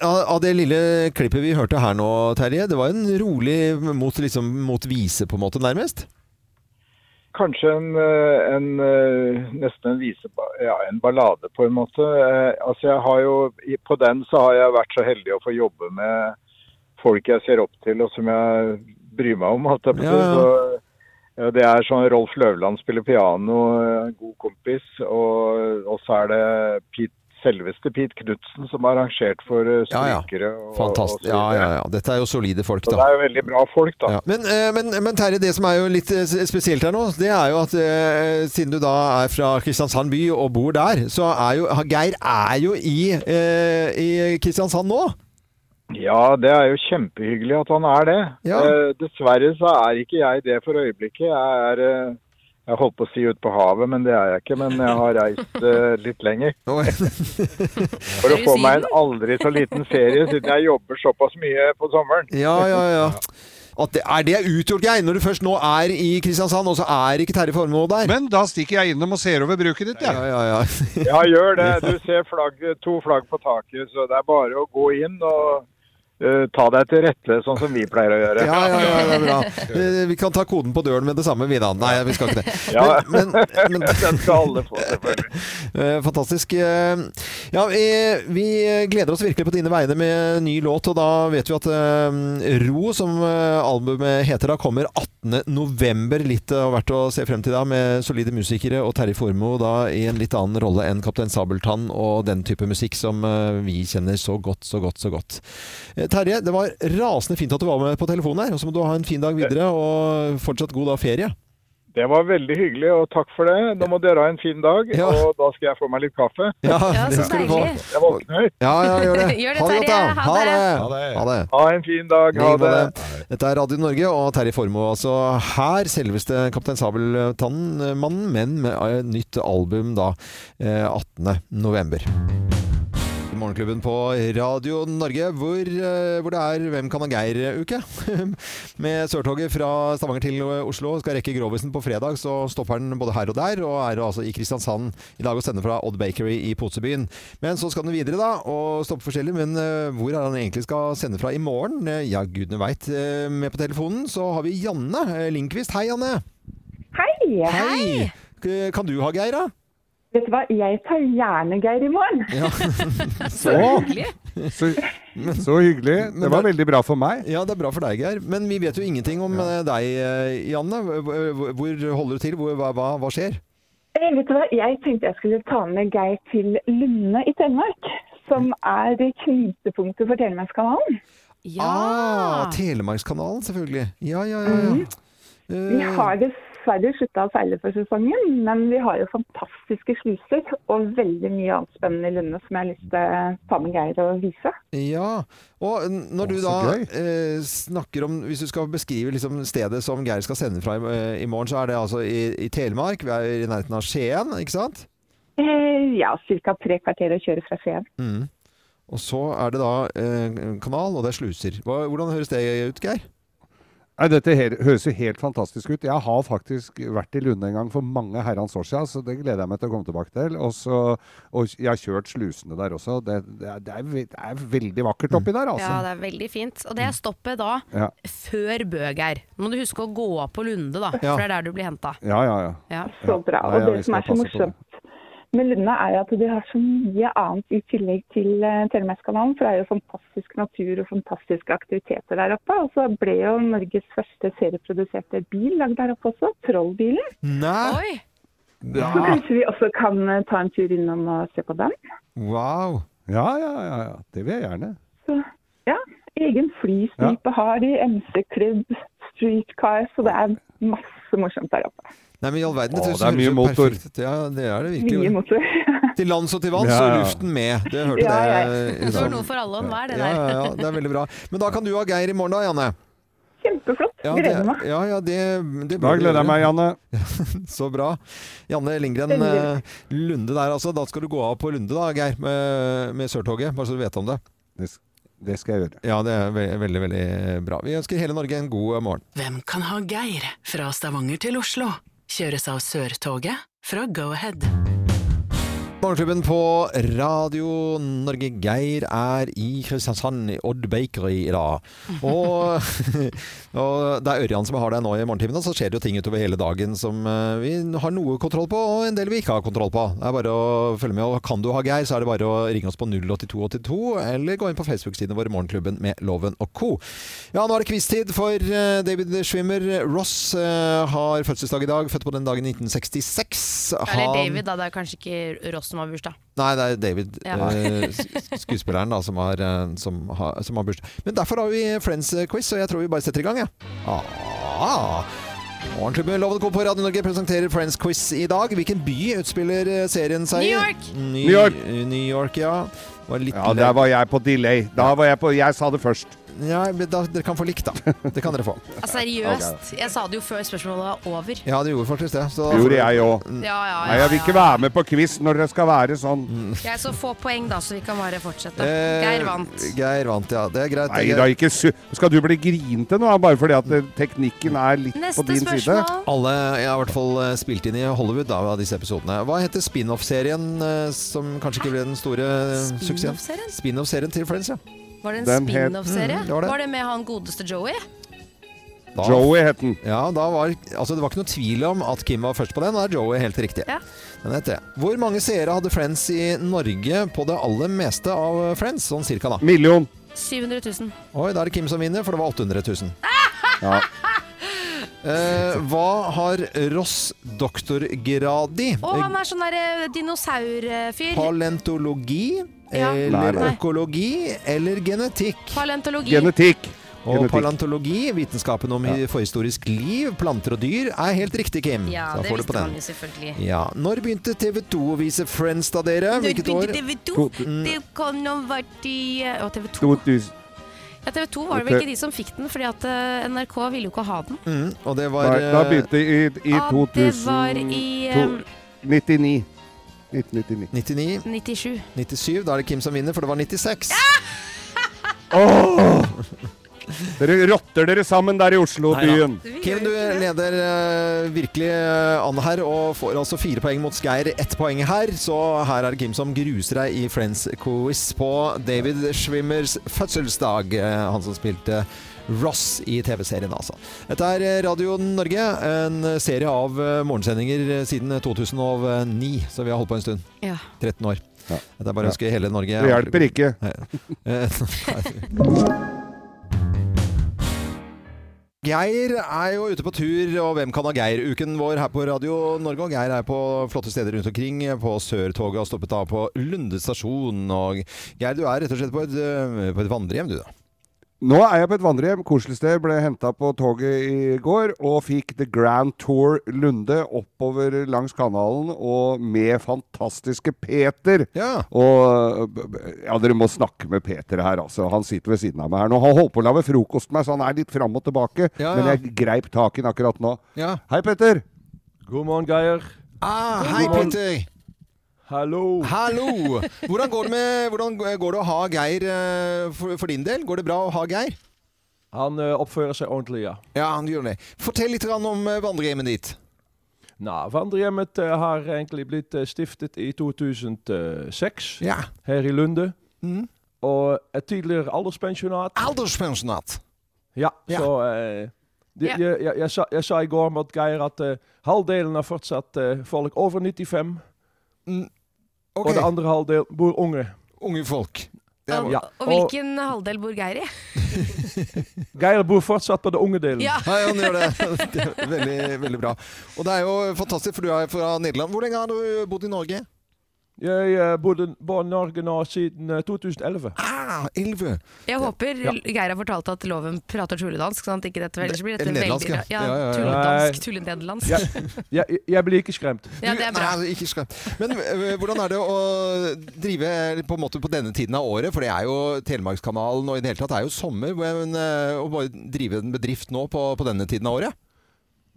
Av av det lille klippet vi hørte her nå, Terje, det var en rolig mot, liksom, mot vise, på en måte, nærmest.
Kanskje en, eh, en eh, nesten en vise, ja, en ballade på en måte. Eh, Altså jeg har jo, i- på den så har jeg vært så heldig å få jobbe med folk jeg ser opp til og som jeg bryr meg om. Alt jeg på,
Ja, ja.
Så, ja, det er sånn Rolf Løvland spiller piano, eh, en god kompis. Og, og så er det Pete, selveste Pete Knutsen som har arrangert for eh,
Ja, ja.
strykere. og-
Fantastisk.
og så
Ja,
videre.
ja, ja. Dette er jo solide folk,
Så
da.
det er jo veldig bra folk, da.
Ja, Men, eh, men, men Terje, det som er jo litt eh, spesielt her nå, det er jo at eh, siden du da er fra Kristiansand by og bor der, så er jo Geir er jo i, eh, i Kristiansand nå.
Ja, det er jo kjempehyggelig at han er det. Eh, dessverre så er ikke jeg det for øyeblikket. Jeg er eh, jeg holdt på å si ute på havet, men det er jeg ikke. Men jeg har reist eh, litt lenger. For å få meg en aldri så liten ferie, siden jeg jobber såpass mye på sommeren.
Ja, ja, ja. At det, er det utgjort, Geir, når du først nå er i Kristiansand, og så er ikke Terje Formoe der?
Men da stikker jeg innom og ser over bruket ditt, jeg.
Ja, ja, ja.
Ja, gjør
[LAUGHS]
det. Du ser flagg, to flagg på taket, så det er bare å gå inn og eh, ta deg til rette, sånn som vi pleier å gjøre.
Ja, ja, ja, det er bra. Eh, Vi kan ta koden på døren med det samme, vi da. Nei, vi skal ikke det.
Ja.
Men, men,
[LAUGHS] Den skal alle få, selvfølgelig.
Eh, Fantastisk. Eh, Ja, eh, vi gleder oss virkelig på dine vegne med ny låt, og da vet vi at eh, Ro, som eh, albumet heter da, kommer 18.11. Litt eh, verdt å se frem til da, med solide musikere og Terje Formoe da i en litt annen rolle enn Kaptein Sabeltann og den type musikk som eh, vi kjenner så godt, så godt, så godt. Eh, Terje, det var rasende fint at du var med på telefonen her, og så må du ha en fin dag videre, og fortsatt god da ferie.
Det var veldig hyggelig, og takk for det. Nå må dere ha en fin dag,
Ja.
og da skal jeg få meg litt kaffe.
Ja, Ja, det så skal du få. deilig.
Jeg våkner.
Ja, ja, [LAUGHS] gjør det. ha det godt, da. Ha det. Ha det.
Ha en fin dag.
I
Ha
like
det.
måte. Dette er Radio Norge og Terje Formoe altså her. Selveste Kaptein Sabeltann-mannen, men med eh, nytt album da eh, 18. november. Morgenklubben på Radio Norge, hvor, eh, hvor det er Hvem kan ha Geir-uke. [LAUGHS] Med Sørtoget fra Stavanger til Oslo skal rekke Grovisen på fredag, så stopper den både her og der, og er altså i Kristiansand i dag og sender fra Odd Bakery i Posebyen. Men så skal den videre, da, og stoppe forskjellig. Men eh, hvor er han egentlig skal sende fra i morgen? Eh, Ja, gudene veit. Eh, Med på telefonen så har vi Janne eh, Lindqvist. Hei, Janne.
Hei.
K- Kan du ha Geir, da?
Vet du hva, jeg tar gjerne Geir i morgen.
[LAUGHS] Så
hyggelig.
Så, så hyggelig. Det var veldig bra for meg.
Ja, det er bra for deg, Geir. Men vi vet jo ingenting om eh, deg, eh, Janne. Hvor- Hvor hvor holder du til? Hvor, hva, hva, hva skjer?
Eh, Vet du hva, jeg tenkte jeg skulle ta med Geir til Lunde i Telemark, som er det knutepunktet for Telemarkskanalen.
Ah, Telemarkskanalen, selvfølgelig. Ja, ja, ja. ja.
Mhm. Vi
Eh,
har dessverre slutta å seile for sesongen, men vi har jo fantastiske sluser og veldig mye annet spennende i Lunde som jeg har lyst til å ta med Geir og vise.
Ja, og n- når du
så
da eh, snakker om Hvis du skal beskrive liksom stedet som Geir skal sende fra i, eh, i morgen, så er det altså i, i Telemark. Vi er i nærheten av Skien, ikke sant?
Eh, Ja, ca. tre kvarter å kjøre fra Skien.
Mm. Og så er det da eh, kanal, og det er sluser. Hva, hvordan høres det ut, Geir?
Nei, dette her, høres jo helt fantastisk ut. Jeg har faktisk vært i Lunde en gang for mange herrens år siden, så det gleder jeg meg til å komme tilbake til. Og, så, og jeg har kjørt slusene der også. Det, det, er- det, er, ve- det er veldig vakkert oppi der, altså.
Ja, det er veldig fint. Og det er stoppet da,
Ja.
før Bøgeir. Nå må du huske å gå av på Lunde, da,
Ja.
for det er der du blir henta.
Ja, ja, ja.
Ja.
Så bra.
Nei,
Og
ja, vi
det som
skal
er så
passe på det.
morsomt med Lunde, er jo at de har så mye annet i tillegg til eh, Telemarkskanalen. For det er jo fantastisk natur og fantastiske aktiviteter der oppe. Og så ble jo Norges første serieproduserte bil lagd der oppe også, Trollbilen.
Nei!
Så kanskje vi også kan eh, ta en tur innom og se på den.
Wow!
Ja, ja, ja, ja. Det vil jeg gjerne.
Så ja, egen flystripe har de, MC-klubb, streetcar. Så det er masse morsomt der oppe.
Nei, men i all verden,
Å,
dette
det er
høres
mye
jo
motor.
perfekt ut. Ja, det er det
Mye
virkelig.
motor. [LAUGHS]
Til lands og til vanns,
Ja,
og
ja.
luften med. Det hørte
Ja, ja.
det. eh,
Det var
som-
noe for alle og enhver, det
ja, ja, ja, det
der.
er veldig bra. Men da kan du ha Geir i morgen da, Janne.
Kjempeflott.
Ja, det,
Gleder meg.
ja, ja, det, det
Da
bør du
gleder jeg
gjøre.
meg,
[LAUGHS]
Janne.
Så bra. Janne Lindgren
Veldig.
eh, Lunde der, altså. Da skal du gå av på Lunde, da, Geir, med, med Sørtoget. Bare så du vet om det.
Det skal jeg gjøre.
Ja, det er ve veldig, veldig bra. Vi ønsker hele Norge en god eh, morgen.
Hvem kan ha Geir? Fra Stavanger til Oslo. Kjøres av Sørtoget fra Go-Ahead.
Morgenklubben på Radio Norge. Geir er i Kristiansand, i Odd Bakery, i dag. Og, [LAUGHS] og det er Ørjan som har deg nå i morgentimene, og så skjer det jo ting utover hele dagen som eh, vi har noe kontroll på, og en del vi ikke har kontroll på. Det er bare å følge med. Og kan du ha Geir, så er det bare å ringe oss på 08282, eller gå inn på Facebook-sidene våre Morgenklubben med Loven og co. Ja, nå er det quiz-tid for eh, David Schwimmer. Ross eh, har fødselsdag i dag, født på den dagen i 1966.
Eller
Han-
David, da. Det er kanskje ikke Ross som har bursdag.
Nei, det er David,
Ja.
eh, sk- skuespilleren, da, som har, eh, som har, som har bursdag. Men derfor har vi Friends-quiz, og jeg tror vi bare setter i gang, jeg. Ja. Ah. Morgenklubben med Loven Co. på Radio Norge presenterer Friends-quiz i dag. Hvilken by utspiller eh, serien seg?
New York.
Ny,
New York.
New York, ja. Var litt
Ja, der var jeg på delay. Da var jeg på Jeg sa det først.
Ja, men da, dere kan få likt, da. Det kan dere
[LAUGHS]
få.
Ja, seriøst. Jeg sa det jo før spørsmålet var over.
Ja, det gjorde faktisk det. Så Mm.
Det gjorde jeg òg.
Ja, ja,
Nei, jeg vil ikke være med på quiz når det skal være sånn.
Mm.
Jeg så få poeng, da, så vi kan bare fortsette.
Eh,
Geir vant.
Geir vant, ja. Det er greit.
Nei
det er
da,
greit.
ikke su... Skal du bli grinete nå, bare fordi at eh, teknikken er litt på din side?
Alle jeg har i hvert fall eh, spilt inn i Hollywood da, av disse episodene. Hva heter spin-off-serien eh, som kanskje ikke ble den store eh, suksessen?
Spin-off-serien?
Spin-off-serien til Friends, ja.
Var det en
Den het-
spin-off-serie?
Mm, det var
var,
det.
det med han godeste Joey?
Joey
het den.
Ja, da var, altså, det var ikke noe tvil om at Kim var først på den. Da er Joey helt riktig. Den heter det. Hvor mange seere hadde Friends i Norge på det aller meste av Friends? Sånn cirka, da.
Million.
700 000.
Oi, da er det Kim som vinner, for det var 800
[LAUGHS]
000. Eh, hva har Ross doktorgrad i?
Og han er sånn der eh, dinosaurfyr.
Palentologi
Ja. Nei,
eller
nei.
økologi eller genetikk?
Palentologi.
Og
Genetikk.
palentologi, vitenskapen om forhistorisk liv, planter og dyr, er helt riktig, Kim.
Ja,
Da
det
Mm, får du
visste
på den.
man jo selvfølgelig.
Ja. Når begynte TV 2 å vise Friends, da, dere?
Når
Hvilket år?
begynte TV 2?
Mm,
Det kan ha vært i eh, Å, TV 2.
2000.
Ja, TV 2 var det vel ikke de som fikk den, fordi at eh, NRK ville jo ikke ha den.
Mm, og det var
Nei, da
eh,
begynte i, i
Ja, det var
2000
i,
to-
ehm,
99. 1999.
99.
97.
97. Da er det Kim som vinner, for det var 96.
Åh! Dere rotter dere sammen der i Oslo-byen.
Neida. Kim, du leder eh, virkelig eh, an her og får altså fire poeng mot Geir. Ett poeng her, så her er det Kim som gruser deg i Friends-quiz på David Schwimmers fødselsdag. eh, Han som spilte Ross i TV-serien, altså. Dette er eh, Radio Norge, en serie av eh, morgensendinger siden eh, 2009, så vi har holdt på en stund.
Ja.
13 år. Dette er bare å
Ja.
ønske hele Norge Eh,
Det hjelper ikke.
[LAUGHS] Geir er jo ute på tur, og hvem kan ha Geir-uken vår her på Radio Norge? Og Geir er på flotte steder rundt omkring. På Sørtoget og stoppet av på Lunde stasjon. Og Geir, du er rett og slett på et, eh, på et vandrehjem, du da.
Nå er jeg på et vandrehjem. Koselig sted. Ble henta på toget i går og fikk The Grand Tour Lunde oppover langs kanalen og med fantastiske Peter. Og ja, dere må snakke med Peter her, altså. Han sitter ved siden av meg her nå. Han holdt på å lage frokost med meg, så han er litt fram og tilbake.
Ja, ja.
Men jeg greip tak i den akkurat nå.
Ja.
Hei, Peter.
God morgen, Geir.
Ah,
God
hei,
morgen.
Peter.
Hallo.
Hallo! Hvordan går det, med, hvordan går det å ha Geir eh, for, for din del? Går det bra å ha Geir?
Han eh, oppfører seg ordentlig, ja.
Ja, han gjør det. Fortell litt grann om eh, vandrehjemmet ditt.
Nou, Vandrehjemmet eh, har egentlig blitt eh, stiftet i 2006 her i Lunde.
Mhm.
Oh, Og et tidligere alderspensjonaat.
Alderspensjonaat?
Ja, så eh, de-
Ja.
Je, je, jeg, sa, jeg sa i går at Geir at eh, halvdelen av fortsatt eh, folk over 95.
Mm.
Og de andere halvdel bor unge.
Unge folk.
Og,
ja. Oh,
og hvilken halvdel bor Geir i?
Og Geir bor fortsatt på de unge delen.
Ja.
Nei, han gjør det. [LAUGHS] det er veldig, veldig bra. Og det er jo fantastisk, for du er fra Nederland. Hvor lenge har du bodd i Norge?
Jeg eh, bodde på Norge nå siden eh, 2011.
Ah, 11.
Jeg håper
Ja.
Geir har fortalt at loven prater tulledansk, sånn at ikke dette ellers blir dette
Eller nederlandsk,
veldig
ja. Ja,
bra. Ja,
ja, ja.
tulledansk,
Ja,
tullenederlandsk. [LAUGHS]
jeg, jeg blir ikke skremt.
Ja, det er bra.
Nei, altså, ikke skam. Men øh, hvordan er det å drive eh, på en måte på denne tiden av året? For det er jo Telemarkskanalen og i det hele tatt er jo sommer. Men øh, å bare drive en bedrift nå på, på denne tiden av året?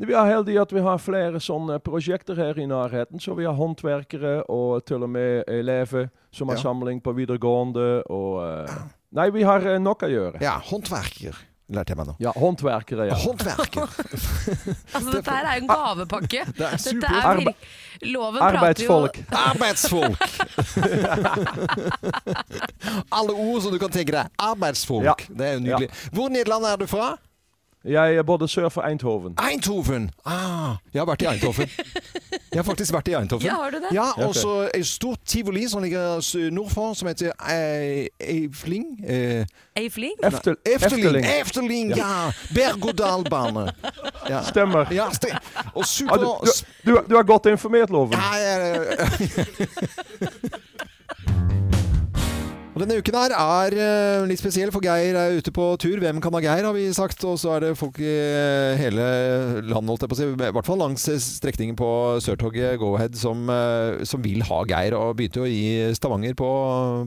Vi er heldige at vi har flere sånne prosjekter her i nærheten. Så vi har håndverkere og til og med elever som har
Ja.
samling på videregående. Og, eh, Nei, vi har eh, nok å gjøre.
Ja, håndverker. lærte jeg meg nå.
Ja, håndverkere. Ja.
Altså, dette her er jo en
Ah,
gavepakke.
Det er
dette
super.
er
Arbe-
virk... Loven
Arbeidsfolk.
[LAUGHS]
Arbeidsfolk!
[LAUGHS]
Alle ord som du kan tenke deg. Arbeidsfolk.
Ja.
Det er jo nydelig. Hvor i Nederland er du fra?
Jeg er både sør for Eindhoven.
Eindhoven! Ah, jeg har vært i
[LAUGHS]
Eindhoven. Jeg har faktisk vært i Eindhoven.
Ja, har du det?
Ja,
Ja,
og så et stort tivoli som ligger s- nordfor, som heter eh, Eifling. Eh,
Eifling?
Eftel- Efteling. Efteling, ja! Berg-og-dal-bane.
[LAUGHS]
Ja.
Stemmer.
Ja, ste og super...
Ah, du, du, du, er- du er godt informert, Loven.
Ja,
[LAUGHS]
Og [LAUGHS] denne uken her er eh, litt spesiell, for Geir er ute på tur. Hvem kan ha Geir, har vi sagt. Og så er det folk i eh, hele landet, holdt jeg på å si. I hvert fall langs eh, strekningen på Sørtoget Go-Ahead som, eh, som vil ha Geir. Og begynte jo i Stavanger på,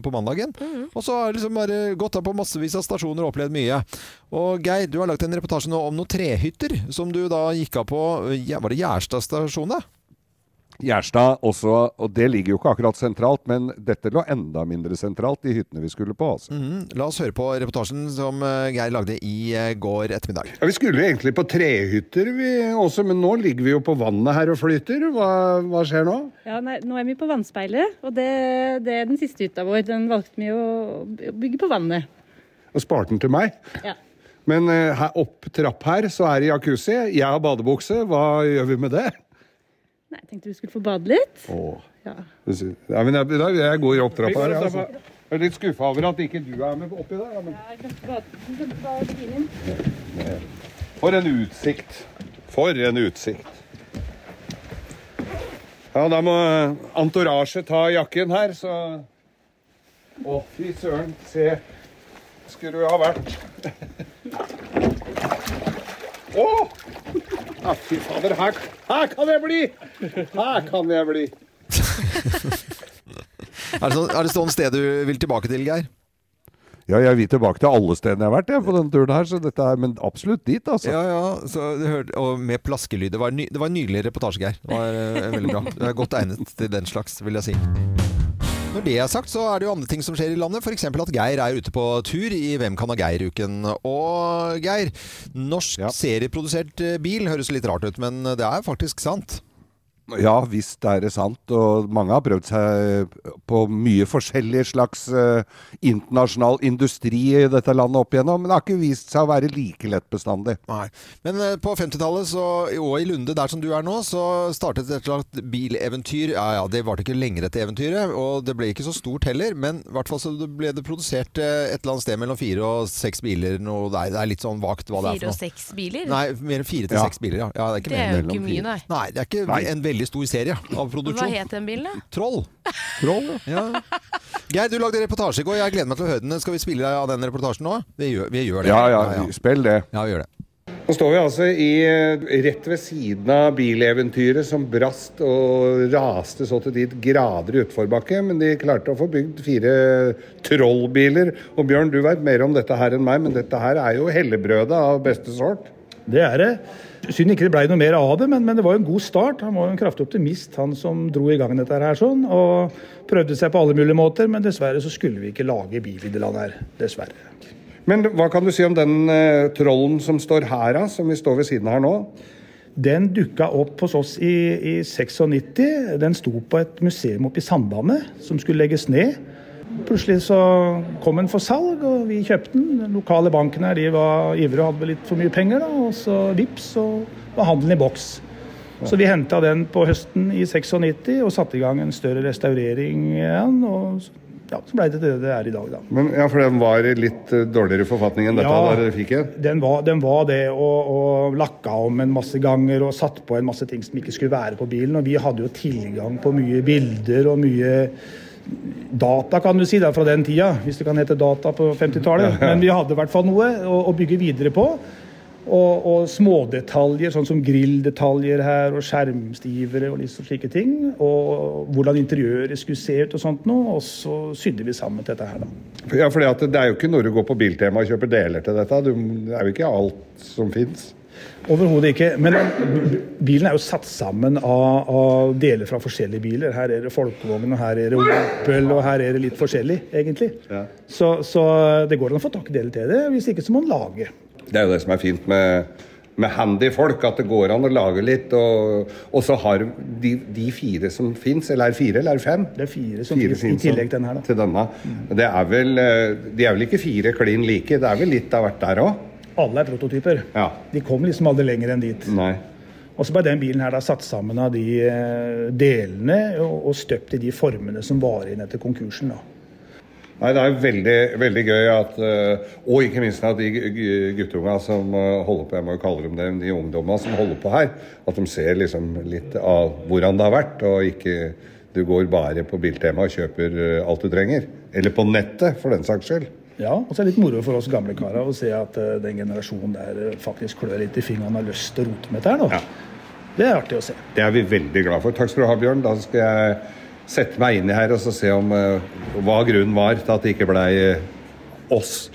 på mandagen. Og så har jeg liksom bare gått av på massevis av stasjoner og opplevd mye. Og Geir, du har lagt en reportasje nå om noen trehytter som du da gikk av på ja, Var det Gjerstad stasjon, da?
Gjerstad også, og det ligger jo ikke akkurat sentralt, men dette lå enda mindre sentralt, de hyttene vi skulle på. altså.
Mhm. La oss høre på reportasjen som eh, Geir lagde i eh, går ettermiddag.
Ja, Vi skulle jo egentlig på trehytter vi også, men nå ligger vi jo på vannet her og flyter. Hva, hva skjer nå?
Ja, nei, nå er vi på vannspeilet, og det, det er den siste hytta vår. Den valgte vi å bygge på vannet.
Og sparte den til meg.
Ja.
Men eh, her, opp trapp her så er det jacuzzi. Jeg har badebukse, hva gjør vi med det?
Nei, jeg tenkte vi skulle få bade litt.
Åh.
Ja.
Ja, men jeg, da- jeg går opp
Vi går
trappa her.
opp
Altså.
trappa.
Jeg er litt skuffa over at ikke du er med oppi der. ja, Men... For en utsikt. For en utsikt. Ja, da må antorasje ta jakken her, så Å, fy søren. Se. Skulle jo ha vært Å! Ja, fy fader. Her, her kan jeg bli! Her kan jeg bli.
Er det, sånn, er det sånn sted du vil tilbake til, Geir?
Ja, jeg vil tilbake til alle stedene jeg har vært jeg, på denne turen her, så dette er, men absolutt dit, altså.
Ja, ja. Så du hørte, og med plaskelyder. Det var, ny, det var en nydelig reportasje, Geir. Det var eh, veldig bra. Du er godt egnet til den slags, vil jeg si. Når det er sagt, så er det jo andre ting som skjer i landet. F.eks. at Geir er ute på tur i Hvem kan ha Geir-uken. Og Geir, norsk serieprodusert eh, bil høres litt rart ut, men det er faktisk sant.
Ja, hvis det er sant. Og mange har prøvd seg på mye forskjellige slags eh, internasjonal industri i dette landet opp igjennom, men det har ikke vist seg å være like lett bestandig.
Nei. Men eh, på 50-tallet så- og i Lunde, der som du er nå, så startet et slags bileventyr. Ja, ja, Det varte ikke lenger etter eventyret, og det ble ikke så stort heller. Men i hvert fall så det ble det produsert eh, et eller annet sted mellom fire og seks biler. Noe, nei, det er litt sånn vagt hva det er
Fire
for
og
noe.
seks biler?
Nei, mer enn fire til
Ja.
seks biler, ja. ja det er, ikke
Det
mer
er
enn
jo ikke
mellom
mye,
fire.
nei.
Nei, det er ikke
Nei.
en veldig stor serie av
Hva
produksjon.
het den bilen, da?
Troll. ja. Geir, du lagde reportasje i går. Jeg gleder meg til å høre den. Skal vi spille av den reportasjen nå? Vi gjør, vi gjør det.
Ja, ja, spill det.
Ja, vi gjør det.
Nå står vi altså i, eh, rett ved siden av bileventyret som brast og raste så til dit grader i utforbakke, men de klarte å få bygd fire trollbiler. Og Bjørn, du veit mer om dette her enn meg, men dette her er jo hellebrødet av beste sort.
Det er det. Synd ikke det ble noe mer av det, men, men det var jo en god start. Han var jo en kraftig optimist, han som dro i gang dette her sånn. Og prøvde seg på alle mulige måter, men dessverre så skulle vi ikke lage bil i det landet her. Dessverre.
Men hva kan du si om den eh, trollen som står her, da, som vi står ved siden av her nå?
Den dukka opp hos oss i, i 96. Den sto på et museum oppe i Sandane som skulle legges ned. Plutselig så kom den for salg, og vi kjøpte den. Den lokale banken her de var ivrige og hadde vel litt for mye penger, da. Og så vips, så var handelen i boks. Så vi henta den på høsten i 96 og satte i gang en større restaurering igjen. Og så- ja, så blei det det det er i dag, da.
Men, ja, For den var i litt eh, dårligere forfatning enn dette
Ja.
da dere fikk den?
Den var, den var det, og, og lakka om en masse ganger og satt på en masse ting som ikke skulle være på bilen. Og vi hadde jo tilgang på mye bilder og mye data, kan du si, da, fra den tida. Hvis det kan hete data på 50-tallet. Men vi hadde i hvert fall noe å, å bygge videre på. Og, og smådetaljer, sånn som grilldetaljer her, og skjermstivere og litt sånn slike ting. Og hvordan interiøret skulle se ut og sånt noe. Og så sydde vi sammen dette her, da.
Ja, for det er jo ikke når du går på Biltema og kjøper deler til dette. Du, det er jo ikke alt som fins.
Overhodet ikke. Men eh, bilen er jo satt sammen av, av deler fra forskjellige biler. Her er det folkevogn, og her er det Opel, og her er det litt forskjellig, egentlig. Så, så det går an å få tak i deler til det. Hvis ikke så må en lage.
Det er jo det som er fint med, med handy folk, at det går an å lage litt. Og, og så har de, de fire som fins, eller er det fire eller er det fem?
Det er fire som
Fire
finnes i
finnes,
tillegg
ja.
til den her. da.
Til denne. Mm. Det er vel, eh, de er vel ikke fire klin like, det er vel litt av hvert der òg?
Alle er prototyper.
Ja.
De kom liksom aldri lenger enn dit.
Nei.
Og så ble den bilen her da satt sammen av de eh, delene og, og støpt i de formene som var igjen etter konkursen. da.
Nei, det er veldig, veldig gøy at eh, Og ikke minst at de gu- gu- guttunga som eh, holder på, jeg må jo kalle dem det, de ungdomma som holder på her, at de ser liksom litt av hvordan det har vært, og ikke du går bare på Biltema og kjøper eh, alt du trenger. Eller på nettet, for den saks skyld.
Ja, Og så er det litt moro for oss gamle karer å se at eh, den generasjonen der eh, faktisk klør litt i fingrene og har lyst til å rote med dette her nå. Det er artig å se.
Det er vi veldig glad for. Takk skal du ha, Bjørn. Da skal jeg sette meg inn i her og så se om eh, hva grunnen var til at det ikke blei oss.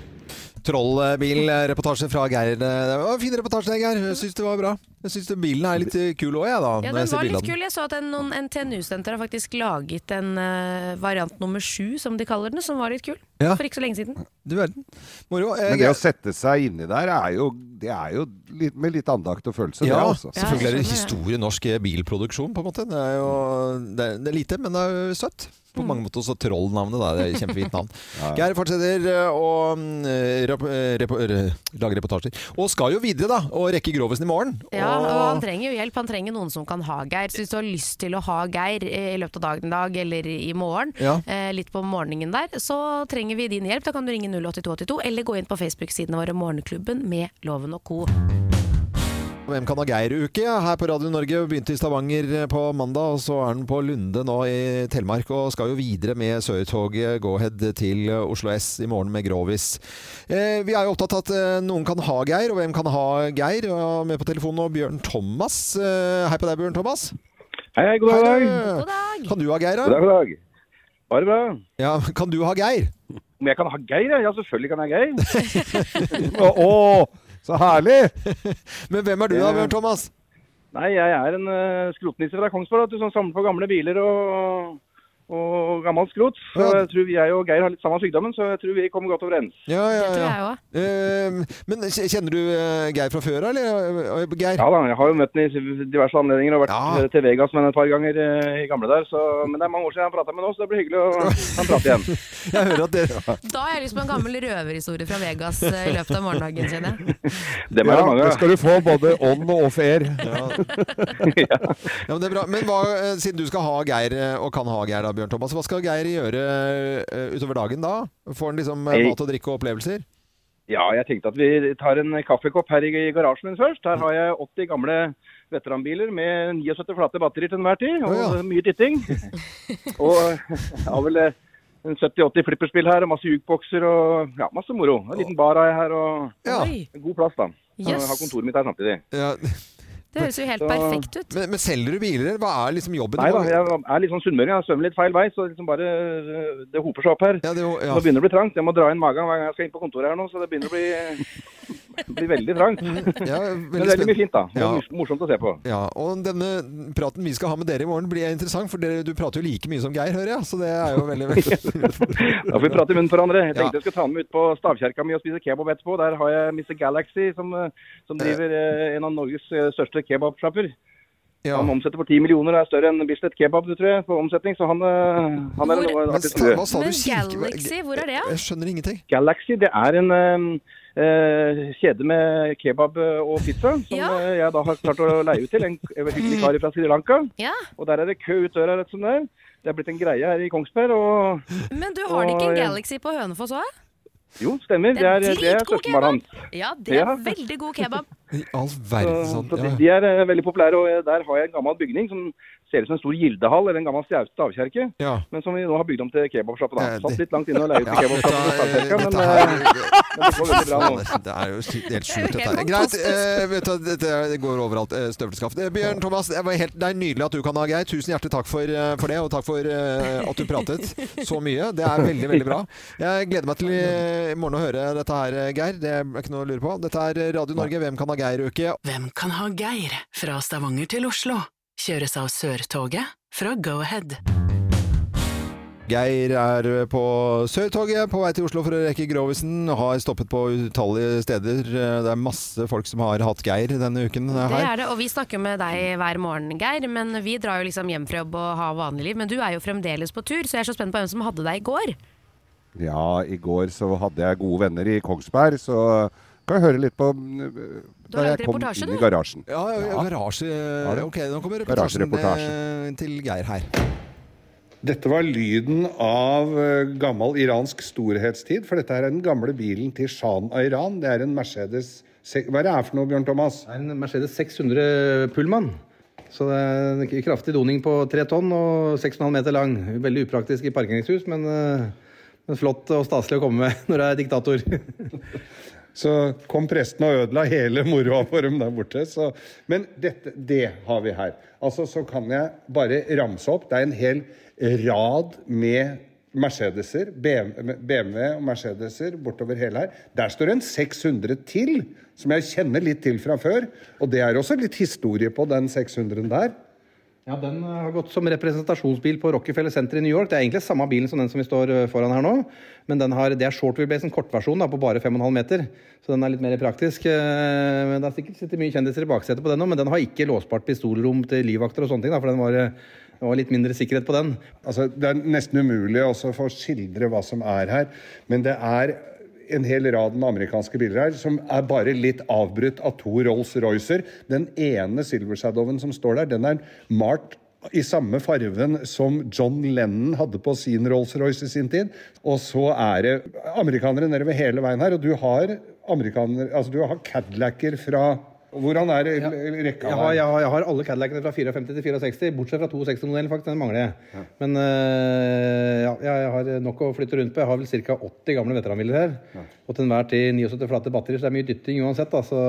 Trollbilreportasje fra Geir. Det var en fin reportasje, Geir. Jeg syns det var bra. Jeg syns bilen er litt eh, kul òg, jeg, da.
Ja,
når jeg
den
ser
var litt
bildene.
kul. Jeg så at en, noen NTNU-studenter har faktisk laget en eh, variant nummer sju, som de kaller den, som var litt kul.
Ja.
For ikke så lenge siden.
Du verden. Moro. Eh,
Men det å sette seg inni der er jo, det er jo litt, med litt andakt og følelse.
ja,
det, altså.
selvfølgelig er det historie norsk eh, bilproduksjon, på en måte. Det er jo det er, det er lite, men det er jo søtt.
Mm.
På mange måter også Troll-navnet, da. Det er et kjempefint navn.
[LAUGHS] Ja.
Geir fortsetter eh, å mm, rap, eh, rep, eh, lage reportasjer. Og skal jo videre, da. Og rekke Grovesen i morgen.
Ja,
Og-
og han trenger jo hjelp. Han trenger noen som kan ha Geir. Så hvis du har lyst til å ha Geir eh, i løpet av dagen i dag, eller i morgen,
Ja.
eh, litt på morgenen der, så trenger vi din hjelp. Da kan du ringe 08282, eller gå inn på Facebook-sidene våre Morgenklubben med Loven og co.
Hvem kan ha Geir-uke her på Radio Norge? Begynte i Stavanger eh, på mandag, og så er den på Lunde nå i Telemark. Og skal jo videre med Sørtoget Go-Ahead til Oslo S i morgen med Grovis. Eh, vi er jo opptatt av at eh, noen kan ha Geir, og hvem kan ha Geir? Og med på telefonen nå Bjørn Thomas. Eh, hei på deg, Bjørn Thomas.
Hei, hei, god dag.
du. Kan du ha Geir, da?
God dag, god dag. Bare bra.
Ja, kan du ha Geir?
Om jeg kan ha Geir, ja? Ja, selvfølgelig kan jeg ha Geir.
Å, så herlig! [LAUGHS] Men hvem er du da, Bjørn Thomas?
Eh, Nei, jeg er en eh, skrotnisse fra Kongsberg, vet du, som samler på gamle biler og, og gammelt skrot. Så jeg tror vi er jo, Geir har litt samme sykdommen, så jeg tror vi kommer godt overens.
Ja, ja,
Det tror jeg
ja. Eh, men kj- kjenner du eh, Geir fra før, eller? Eh, Geir?
Ja da, jeg har jo møtt den i diverse anledninger og vært eh, til Vegas med den et par ganger eh, i gamle der. Så, men det er mange år siden han prata med nå, så det blir hyggelig å
[LAUGHS]
han prate igjen.
Jeg hører at dere
Da har jeg lyst på en gammel røverhistorie fra Vegas eh, i løpet av morgendagen, kjenner jeg.
[LAUGHS] Dem er det mange av.
da skal du få både on og off-air.
[LAUGHS]
[LAUGHS] Ja, men det er bra. Men hva, eh, siden du skal ha Geir, eh, og kan ha Geir da, Bjørn Thomas, hva skal Geir gjøre eh, utover dagen da? Får han liksom eh,
Nei.
mat og drikke og opplevelser?
Ja, jeg tenkte at vi tar en kaffekopp her i i garasjen min først. Her har jeg 80 gamle veteranbiler med 79 flate batterier til enhver tid, og mye titting. og jeg har vel eh, en 70-80 flipperspill her, og masse jukebokser og ja, masse moro. En liten bar har jeg her, og en god plass da. Så
Yes.
Jeg har kontoret mitt her samtidig.
Det høres jo helt
Så-
perfekt ut.
Men, men selger du biler, eller hva er liksom jobben?
Nei da, jeg er litt sånn sunnmøring, jeg svømmer litt feil vei, så liksom bare eh, det hoper seg opp her.
ja.
Nå begynner det å bli trangt, jeg må dra inn magen hver gang jeg skal inn på kontoret her nå, så det begynner å
[LAUGHS]
bli, bli veldig trangt. Men det er veldig mye fint da, Det er
Ja.
mors- morsomt å se på.
Ja, og denne praten vi skal ha med dere i morgen blir interessant, for dere, du prater jo like mye som Geir, hører jeg. Så det er jo veldig,
[LAUGHS] Da får vi prate i munnen for hverandre. Jeg
Ja.
tenkte jeg skulle ta med meg ut på stavkjerka mi og spise kebab etterpå. Der har jeg Mr. Galaxy, som, eh, som driver eh, en av Norges eh, største kebabsjapper. Han omsetter for 10 millioner og er større enn Bislett Kebab, du tror jeg, på omsetning. Så han, eh, han er en
Men
artig
sta- hva sa du?
Men
Kirke-
Galaxy, hvor er det, da?
Jeg skjønner ingenting.
Galaxy, det er en eh, eh, kjede med kebab og pizza, som eh, jeg da har klart å leie ut til. En k- en hyggelig kar fra Sri Lanka.
Mm. Ja.
Og der er det kø ut døra, rett som det er. Det er blitt en greie her i Kongsberg. og...
Men du, har de ikke
Og-
en Galaxy på Hønefoss òg?
Jo, stemmer. Det er, det er
dritgod
søskenbarnet hans.
Ja, det er
Ja.
veldig god kebab.
I all verden
Så-
sånn.
så de,
Ja.
de er eh, veldig populære, og eh, der har jeg en gammel bygning som ser ut som en stor gildehall eller en gammel stav- stavkjerke,
Ja.
men som vi nå har bygd om til kebabsjappe. da.
Eh, det-
Satt litt langt inne og leid ut til
Ja,
kebabsjappe og
dette er- altså.
stavkjerka, men,
dette her-
eh, [LAUGHS] men det går veldig bra nå.
Det er jo sy- helt sjukt,
Det er
dette
jo
her.
helt
Greit,
fantastisk.
eh, vet du, hva, dette det går overalt. eh, Støvelskaft. Eh, Bjørn Thomas, det, var helt, det er nydelig at du kan ha Geir. Tusen hjertelig takk for, eh, for det, og takk for eh, at du pratet så mye. Det er veldig, veldig bra. Jeg gleder meg til eh, i i morgen å høre dette her, eh, Geir. Det er ikke noe å lure på. Dette er eh, Radio Norge, Hvem kan ha Geir-uke?
Hvem kan ha Geir? Fra Stavanger til Oslo. Kjøres av Sørtoget fra Go-Ahead.
Geir er eh, på Sørtoget på vei til Oslo for å rekke Grovisen. Har stoppet på utallige steder. Eh, Det er masse folk som har hatt Geir denne uken. eh, Her.
Det er det, og vi snakker med deg hver morgen, Geir. Men vi drar jo liksom hjem fra jobb og har vanlig liv. Men du er jo fremdeles på tur, så jeg er så spent på hvem som hadde deg i går.
Ja, i går så hadde jeg gode venner i Kongsberg, så kan jeg høre litt på
eh,
mm,
Du har laget reportasje,
inn
du.
i garasjen.
Ja, ja, ja, garasje
Har du?
Ok, nå kommer reportasjen
Garasjereportasje.
eh, til Geir her.
Dette var lyden av eh, gammel iransk storhetstid, for dette her er den gamle bilen til Shan av Iran. Det er en Mercedes se- Hva er det her for noe, Bjørn Thomas?
Det er en Mercedes 600 Pullman. Så det er en kraftig doning på tre tonn og 6,5 meter lang. Veldig upraktisk i parkeringshus, men, eh, men flott og staselig å komme med [LAUGHS] når du er diktator.
Så kom presten og ødela hele moroa for dem der borte. Så. Men dette, det har vi her. Altså, så kan jeg bare ramse opp. Det er en hel rad med Mercedeser, BM- BMW og Mercedeser bortover hele her. Der står en 600 til, som jeg kjenner litt til fra før. Og det er også litt historie på den 600-en der.
Ja, Den eh, har gått som representasjonsbil på Rockefeller Center i New York. Det er egentlig samme bilen som den som vi står eh, foran her nå, men den har, det er short wheelbase, en kortversjon da, på bare 5,5 meter. Så den er litt mer praktisk. eh, Men Det er sikkert sitter mye kjendiser i baksetet på den nå, men den har ikke låsbart pistolrom til livvakter og sånne ting, da, for den var, eh, det var litt mindre sikkerhet på den.
Altså, det er nesten umulig også for å skildre hva som er her, men det er en hel rad med amerikanske biler her som er bare litt avbrutt av to Rolls-Roycer. Den ene Silver Shadowen som står der, den er malt i samme farven som John Lennon hadde på sin Rolls-Royce i sin tid. Og så er det amerikanere nedover hele veien her, og du har amerikanere Altså, du har Cadillacer fra Hvordan er det rekka
Jeg har, jeg har, jeg har alle Cadillacene fra 54 til 64, bortsett fra 62-modellen, faktisk. Den mangler jeg. Men øh, ja, jeg- jeg har nok å flytte rundt på. Jeg har vel ca. 80 gamle veteranbiler her. Og til enhver tid 79 flate batterier, så det er mye dytting uansett. Da, så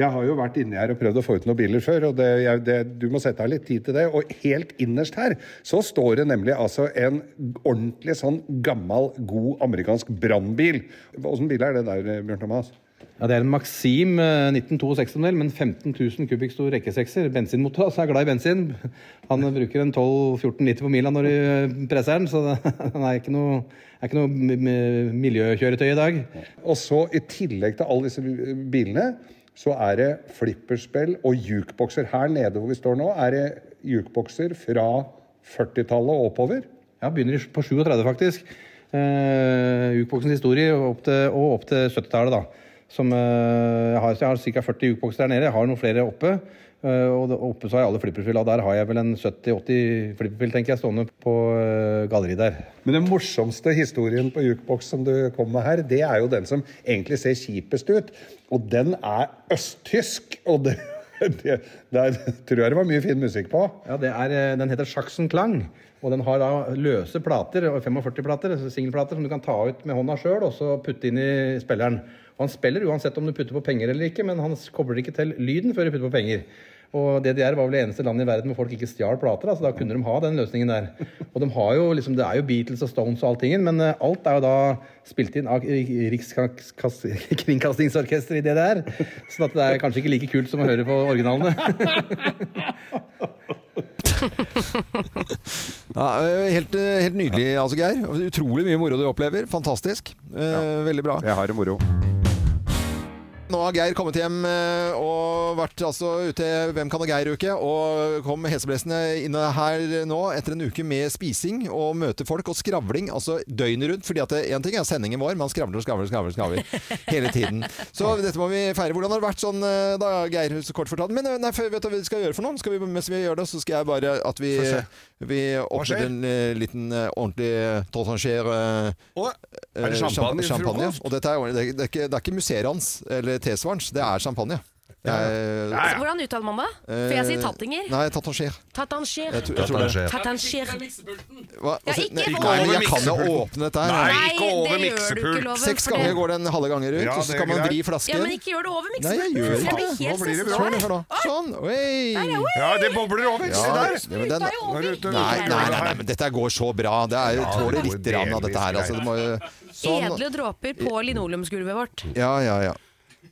Jeg har jo vært inni her og prøvd å få ut noen biler før, og det, jeg, det, du må sette av litt tid til det. Og helt innerst her så står det nemlig altså en ordentlig sånn gammel, god amerikansk brannbil. Åssen bil er det der, Bjørn Thomas?
Ja, Det er en Maxim eh, 1962-modell, men 15 000 kubikk stor rekkesekser. Bensinmotor, altså. Jeg er glad i bensin. Han bruker en 12-14 liter på mila når du presser den, så [LAUGHS] det- den er ikke noe, er ikke noe mi- mi- miljøkjøretøy i dag.
Og så i tillegg til alle disse bilene, så er det flipperspill og jukebokser. Her nede hvor vi står nå, er det jukebokser fra 40-tallet og oppover.
Ja, begynner i- på 37 faktisk. Eh, jukeboksens historie opp til, og opp til 70-tallet, da. Som, eh, jeg har, så jeg har ca. 40 jukebokser der nede. Jeg har noen flere oppe. Eh, og det- oppe så har jeg alle flipperspill. og Der har jeg vel en 70-80 flipperspill, tenker jeg, stående på eh, galleriet der.
Men den morsomste historien på jukebox som du kom med her, det er jo den som egentlig ser kjipest ut. Og den er østtysk! Og det, [LAUGHS] det, der tror jeg det var mye fin musikk på.
Ja, det er, eh, Den heter Saxon Klang. Og den har da løse plater, og 45-plater, altså singelplater, som du kan ta ut med hånda sjøl og så putte inn i spilleren. Og han spiller uansett om du putter på penger eller ikke, men han s- kobler ikke til lyden før du putter på penger. Og DDR var vel det eneste landet i verden hvor folk ikke stjal plater. Altså, da kunne de ha den løsningen der. Og de har jo, liksom, Det er jo Beatles og Stones og alltingen, men eh, alt er jo da spilt inn av [LAUGHS] Rikskringkastingsorkesteret i DDR. Så sånn at det er kanskje ikke like kult som å høre på originalene.
Ja, eh, helt, eh, helt nydelig, altså, Geir. Utrolig mye moro du opplever. Fantastisk. Eh, Veldig bra.
Jeg har det moro.
Nå har Geir kommet hjem eh, og vært altså ute Hvem kan det Geir-uke, og kom heseblesende inne her nå etter en uke med spising og møte folk og skravling, altså døgnet rundt. fordi at én ting er sendingen vår, man skravler og skravler og skravler,
[LAUGHS]
skravler hele tiden. Så dette må vi feire. Hvordan har det vært sånn eh, da, Geir, så kort fortalt? Men eh, nei, for- vet du hva vi skal gjøre for noe? Skal vi, mens vi gjør det, så skal jeg bare at vi,
Få se.
vi åpner
skjer?
en eh, liten eh, ordentlig tortanger
Å, er det champagne i
Eh, champagne.
frokost?
Og dette er, det, er, det, er ikke, det er ikke museerans eller tesvarens, det er champagne. Det er,
Så Hvordan uttaler man det? For jeg sier tattinger.
Eh, Nei, tatanger.
Tatanger.
Jeg tror- jeg tror det.
Tatanger.
Hva-
Ja,
altså,
ikke
nei,
over
nei, men jeg kan jo
miksepulten.
åpne dette her.
Nei, Nei, ikke over det gjør du ikke, miksepult. Loven,
Seks
for
ganger
det-
går den halve gangen rundt,
Ja,
og så
det
skal
er
man
greit.
vri flasken.
Ja, men ikke gjør det over
Nei, jeg gjør
miksepulten. for jeg
ikke
blir
det. Nå
helt
blir det bra.
stresset.
Hør nå, hør nå. Sånn. Oi.
Ja, det bobler over. Se der.
ja, men den- nei, nei, nei, nei, men dette går så bra. Det er,
Ja,
tåler
det går
litt rann av dette her.
delvis
Altså, det må, jo- sånn. [LAUGHS]
Edle dråper på linoleumsgulvet vårt.
Ja, ja, ja.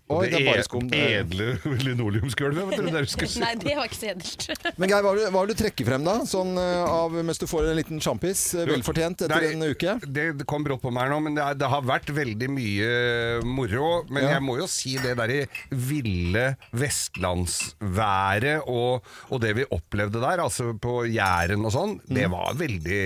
Og
Oi,
det,
det er bare skum,
e-
det er-
edle [LAUGHS] linoleumsgulvet, vet du. Der du
[LAUGHS]
skal
si.
Nei, det var ikke så edelt.
[LAUGHS]
[LAUGHS]
Men Geir, hva vil du- hva vil du trekke frem da? Sånn eh, av, mens du får en liten sjampis, eh, velfortjent etter en uke?
Det, det kom brått på meg nå, men det, er, det har vært veldig mye eh, moro. Men
Ja.
jeg må jo si det derre ville vestlandsværet og, og det vi opplevde der, altså på Jæren og sånn,
Mm.
det var veldig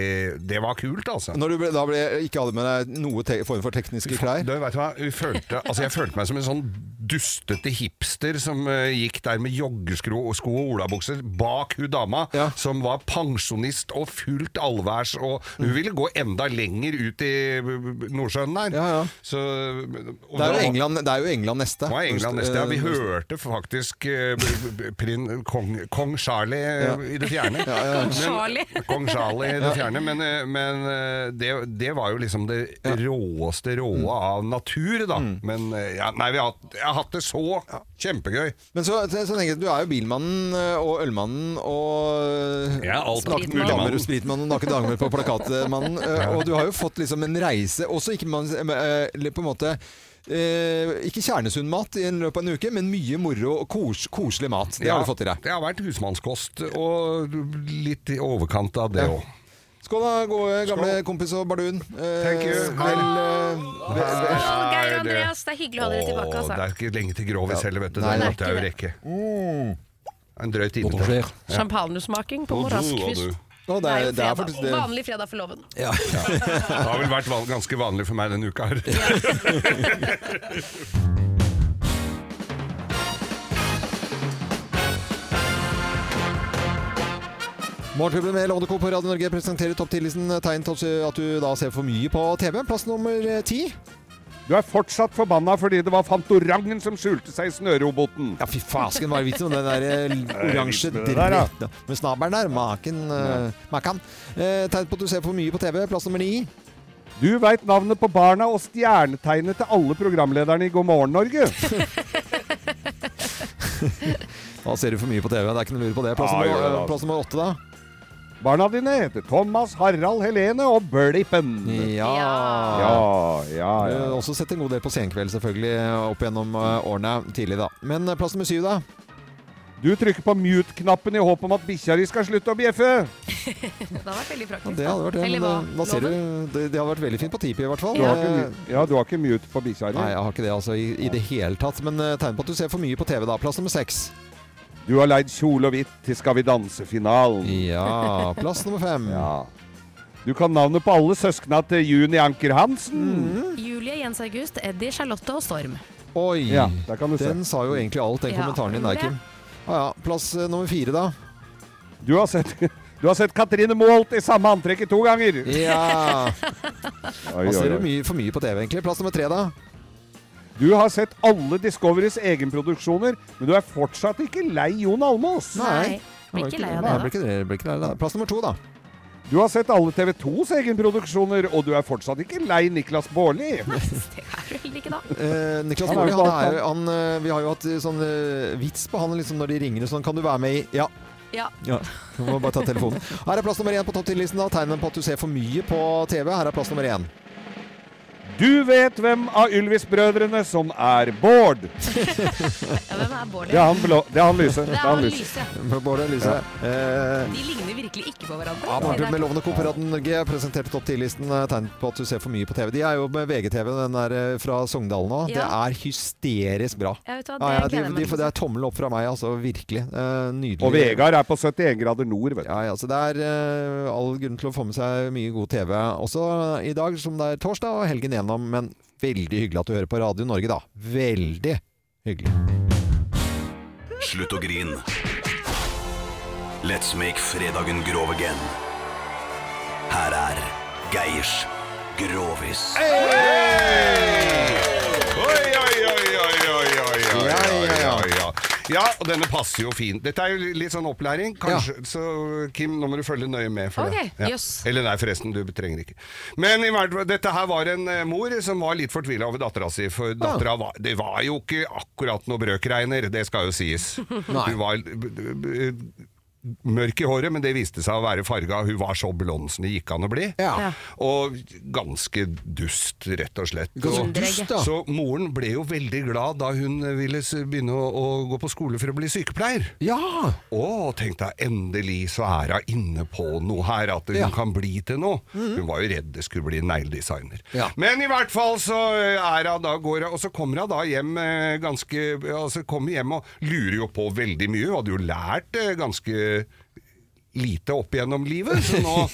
Det var kult, altså.
Når du ble, da ble, ikke hadde med deg noe te form for tekniske klær?
Du vet du hva, vi følte, altså jeg følte meg som en sånn dustete hipster som eh, gikk der med joggesko og sko og olabukser bak hun dama, som var pensjonist og fullt allværs, og
Mm.
hun ville gå enda lenger ut i eh, Nordsjøen der. Så, og
Det er,
da-
jo England, det er jo England neste. Eh,
det var England neste, ja. Vi hørte faktisk eh, b- b- prin, kong, kong Charlie eh,
Ja.
i det fjerne.
[LAUGHS] Ja, ja, ja. Kong Charlie.
Men, kong Charlie i det
Ja.
fjerne. Men, eh, men eh, det, det var jo liksom det råeste råe
Mm.
av natur, da. Men eh, ja, nei, vi har, hatt- jeg har hatt det så kjempegøy.
Men så, så tenker jeg, du er jo bilmannen eh, og ølmannen og
Jeg er alt
Nakne
mulig
damer
mann.
og spritmannen og nakne damer på plakatmannen.
[LAUGHS]
eh, Og du har jo fått liksom en reise, også ikke man, eh, eller på en måte eh, ikke kjernesundmat i en løpet av en uke, men mye moro og kos, koselig mat. Det har
Ja,
du fått i deg.
Det har vært husmannskost, og litt i overkant av det òg.
Skål da, gode gamle kompis og bardun. Thank you. Vel, eh, vel, vel.
Å,
Er
Geir
det-
Andreas, det er hyggelig å ha dere tilbake.
Og det
Altså.
er ikke lenge til Grovis heller, vet du.
Nei,
Det
det er
måtte jeg jo rekke. Mm. En drøy time til. Ja.
Champagnesmaking på
Og du, og
morraskvist.
du.
Å, det er- det er faktisk det.
Vanlig fredag for loven.
Ja.
Det har vel vært van ganske vanlig for meg denne uka her.
Morgenklubben med Lovende Co. på Radio Norge presenterer topp 10-listen tegn til at du da ser for mye på TV. Plass nummer eh, ti.
Du er fortsatt forbanna fordi det var Fantorangen som skjulte seg i snøroboten.
Ja, fy Fasken var vitsen om den
[LAUGHS]
der eh, oransje
Det er vitsen med det der, ja.
dritten med snabelen der. Maken. eh, Makan. Eh, Tegn på at du ser for mye på TV. Plass nummer ni.
Du veit navnet på barna og stjernetegnet til alle programlederne i God morgen, Norge.
Da ser du for mye på TV. Det er ikke noe lure på det. Plass
Ja,
nummer,
gjør det altså. da.
eh, plass nummer åtte, da.
Barna dine heter Thomas, Harald, Helene og Blippen.
Ja.
Ja, ja, ja.
Eh, Også sett en god del på Senkveld, selvfølgelig, opp gjennom eh, årene tidlig, da. Men eh, plass nummer syv, da?
Du trykker på mute-knappen i håp om at bikkja di skal slutte å bjeffe.
Det hadde vært veldig
Ja,
praktisk.
det hadde vært det. Men,
Eller hva?
eh, hva ser du? Det, det hadde vært veldig fint på Tipi, i hvert fall.
Du har ikke,
Eh,
mu- ja, du har ikke mute på bikkja di.
Nei, jeg har ikke det altså, i, i det hele tatt. Men eh, tegn på at du ser for mye på TV, da. Plass nummer seks.
Du har leid kjole og hvitt til Skal vi danse-finalen.
Ja, plass nummer fem.
Ja. Du kan navnet på alle søskna til Juni Anker Hansen.
Mm.
Julie, Jens August, Eddie, Charlotte og Storm.
Oi!
Ja, der kan du se.
den sa jo egentlig alt, den
Ja,
kommentaren din
gjorde
der, Kim. Ja, ja. Plass eh, nummer fire, da.
Du har sett, [LAUGHS] du har sett Katrine Moholt i samme antrekket to ganger.
Ja.
[LAUGHS] Oi,
Da ser
oi, oi.
du mye, for mye på TV, egentlig. Plass nummer tre, da.
Du har sett alle Discoverys egenproduksjoner, men du er fortsatt ikke lei Jon Almaas.
Blir ikke lei av det, da. Blir ikke, det- blir ikke lei av det. Plass nummer to, da.
Du har sett alle TV 2s egenproduksjoner, og du er fortsatt ikke lei Niklas
[LAUGHS]
Baarli.
Eh, Niklas
Han er
Baarli,
jo
han
blant
er jo han, eh, Vi har jo hatt eh, sånn eh, vits på han liksom, når de ringer og sånn. Kan du være med i Ja.
Ja.
ja. Du må bare ta telefonen. Her er plass nummer én på topp 10-listen. da. Tegnet på at du ser for mye på TV. Her er plass nummer én.
Du vet hvem av Ylvis-brødrene som er
[LAUGHS]
Bård.
Hvem er Bård?
Det er han, blå, det er han lyse.
Det er han lyse.
Bård og Lyse. Eh,
De ligner virkelig ikke på hverandre.
Ja, Morgenklubben med
Det er-
Lovende Co. på Radio Norge presenterte topp 10-listen eh, tegn på at du ser for mye på TV. De er jo med VGTV, den der eh, fra Sogndal nå.
Ja.
Det er hysterisk bra.
Jeg vet hva, det
Ja, ja, de,
gleder jeg meg
de,
til.
det er tommel opp fra meg, altså. Virkelig. Eh, nydelig.
Og Vegard er på 71 grader nord, vet du.
Ja, ja, så det er eh, all grunn til å få med seg mye god TV også i dag, som det er torsdag og helgen gjennom. Men veldig hyggelig at du hører på Radio Norge, da. Veldig hyggelig.
Slutt å grin. Let's make fredagen grov again. Her er Geirs Grovis.
Oi, oi, oi, oi, oi, oi, oi, oi, oi, oi. Ja, og denne passer jo fint. Dette er jo litt sånn opplæring, kanskje. Så Kim, nå må du følge nøye med. For
Ok,
det.
jøss.
Eller nei, forresten, du trenger ikke. Men i hvert fall, dette her var en eh, mor som var litt fortvila over dattera si. For dattera var Det var jo ikke akkurat noe brøkregner, det skal jo sies.
Nei.
Hun var eh, mørk i håret, men det viste seg å være farga. Hun var så blond som det gikk an å bli.
Ja.
Og ganske dust, rett og slett.
Ganske
Og-
dust, da.
Så moren ble jo veldig glad da hun ville s- begynne å, å gå på skole for å bli sykepleier.
Ja!
Å, tenk deg, endelig så er hun inne på noe her, at hun
Ja.
kan bli til noe.
Mhm.
Hun var jo redd det skulle bli negledesigner.
Ja.
Men i hvert fall så eh, er hun da går hun, og så kommer hun da hjem eh, ganske Altså kommer hjem og lurer jo på veldig mye. Hun hadde jo lært eh, ganske lite opp gjennom livet. Så
[LAUGHS]
nå,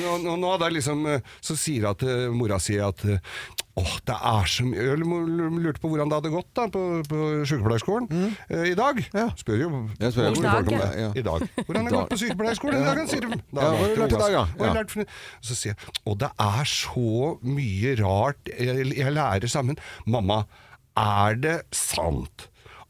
nå, nå, nå hadde jeg liksom eh, Så sier hun til mora si at eh, Åh, det er så mye Eller hun lurte på hvordan det hadde gått da på, på sykepleierskolen eh, i dag. Spør jo
Jeg spør jo
hvor
I dag,
folk om
Mm. ja.
det.
Ja.
I dag. Hvordan har det
I
gått
dag.
på sykepleierskolen i dag? sier de.
Ja, hva har du lært i dag,
Hva
da?
har du
Ja.
lært for noe? Så sier jeg Og det er så mye rart jeg, jeg lærer sammen. Mamma, er det sant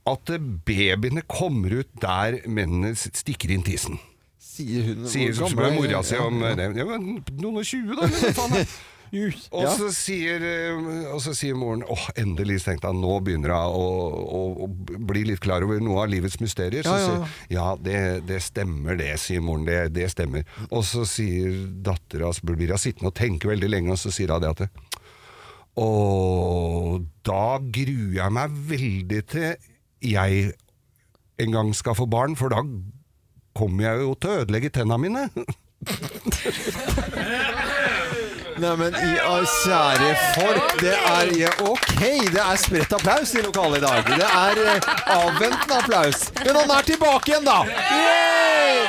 at eh, babyene kommer ut der mennene s- stikker inn tissen?
Sier hun
Sier,
hvor
spør
gammel er-
mora si om eh, det. Ja, men noen og tjue, da? Eller hva faen
[LAUGHS]
er det? Og,
Ja.
så sier, eh, og så sier moren åh, endelig tenkte han, nå begynner hun å, å, å bli litt klar over noe av livets mysterier. Så
Ja, ja, ja.
sier ja, det, det stemmer det, sier moren. Det, det stemmer. Og så sier dattera, blir hun sittende og tenke veldig lenge, og så sier hun det at det, og da gruer jeg meg veldig til jeg en gang skal få barn, for da kommer jeg jo til å ødelegge tenna mine.
Nei, men i all kjære folk, det er ja, Ok, det er spredt applaus i lokalet i dag. Det er eh, avventende applaus. Men han er tilbake igjen, da! Yay!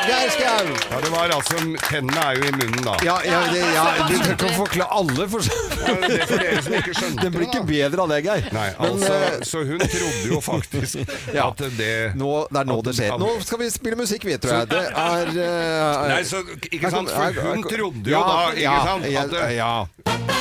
Geir Skau!
Ja, det var altså Tennene er jo i munnen, da.
Ja, ja, det, ja, du kan forklare alle for
det er for dere som ikke skjønte
Den blir ikke bedre av det, Geir.
Nei,
Men,
altså,
eh,
så hun trodde jo
[LAUGHS]
faktisk at det
nå, Det er nå det skjer. Nå skal vi spille musikk, vi, tror jeg. Det er eh,
Nei, så, ikke
her kom-
sant, for
her- her
hun
kom-
trodde jo
Ja,
da, ikke
ja,
sant, at
ja,
det-
ja.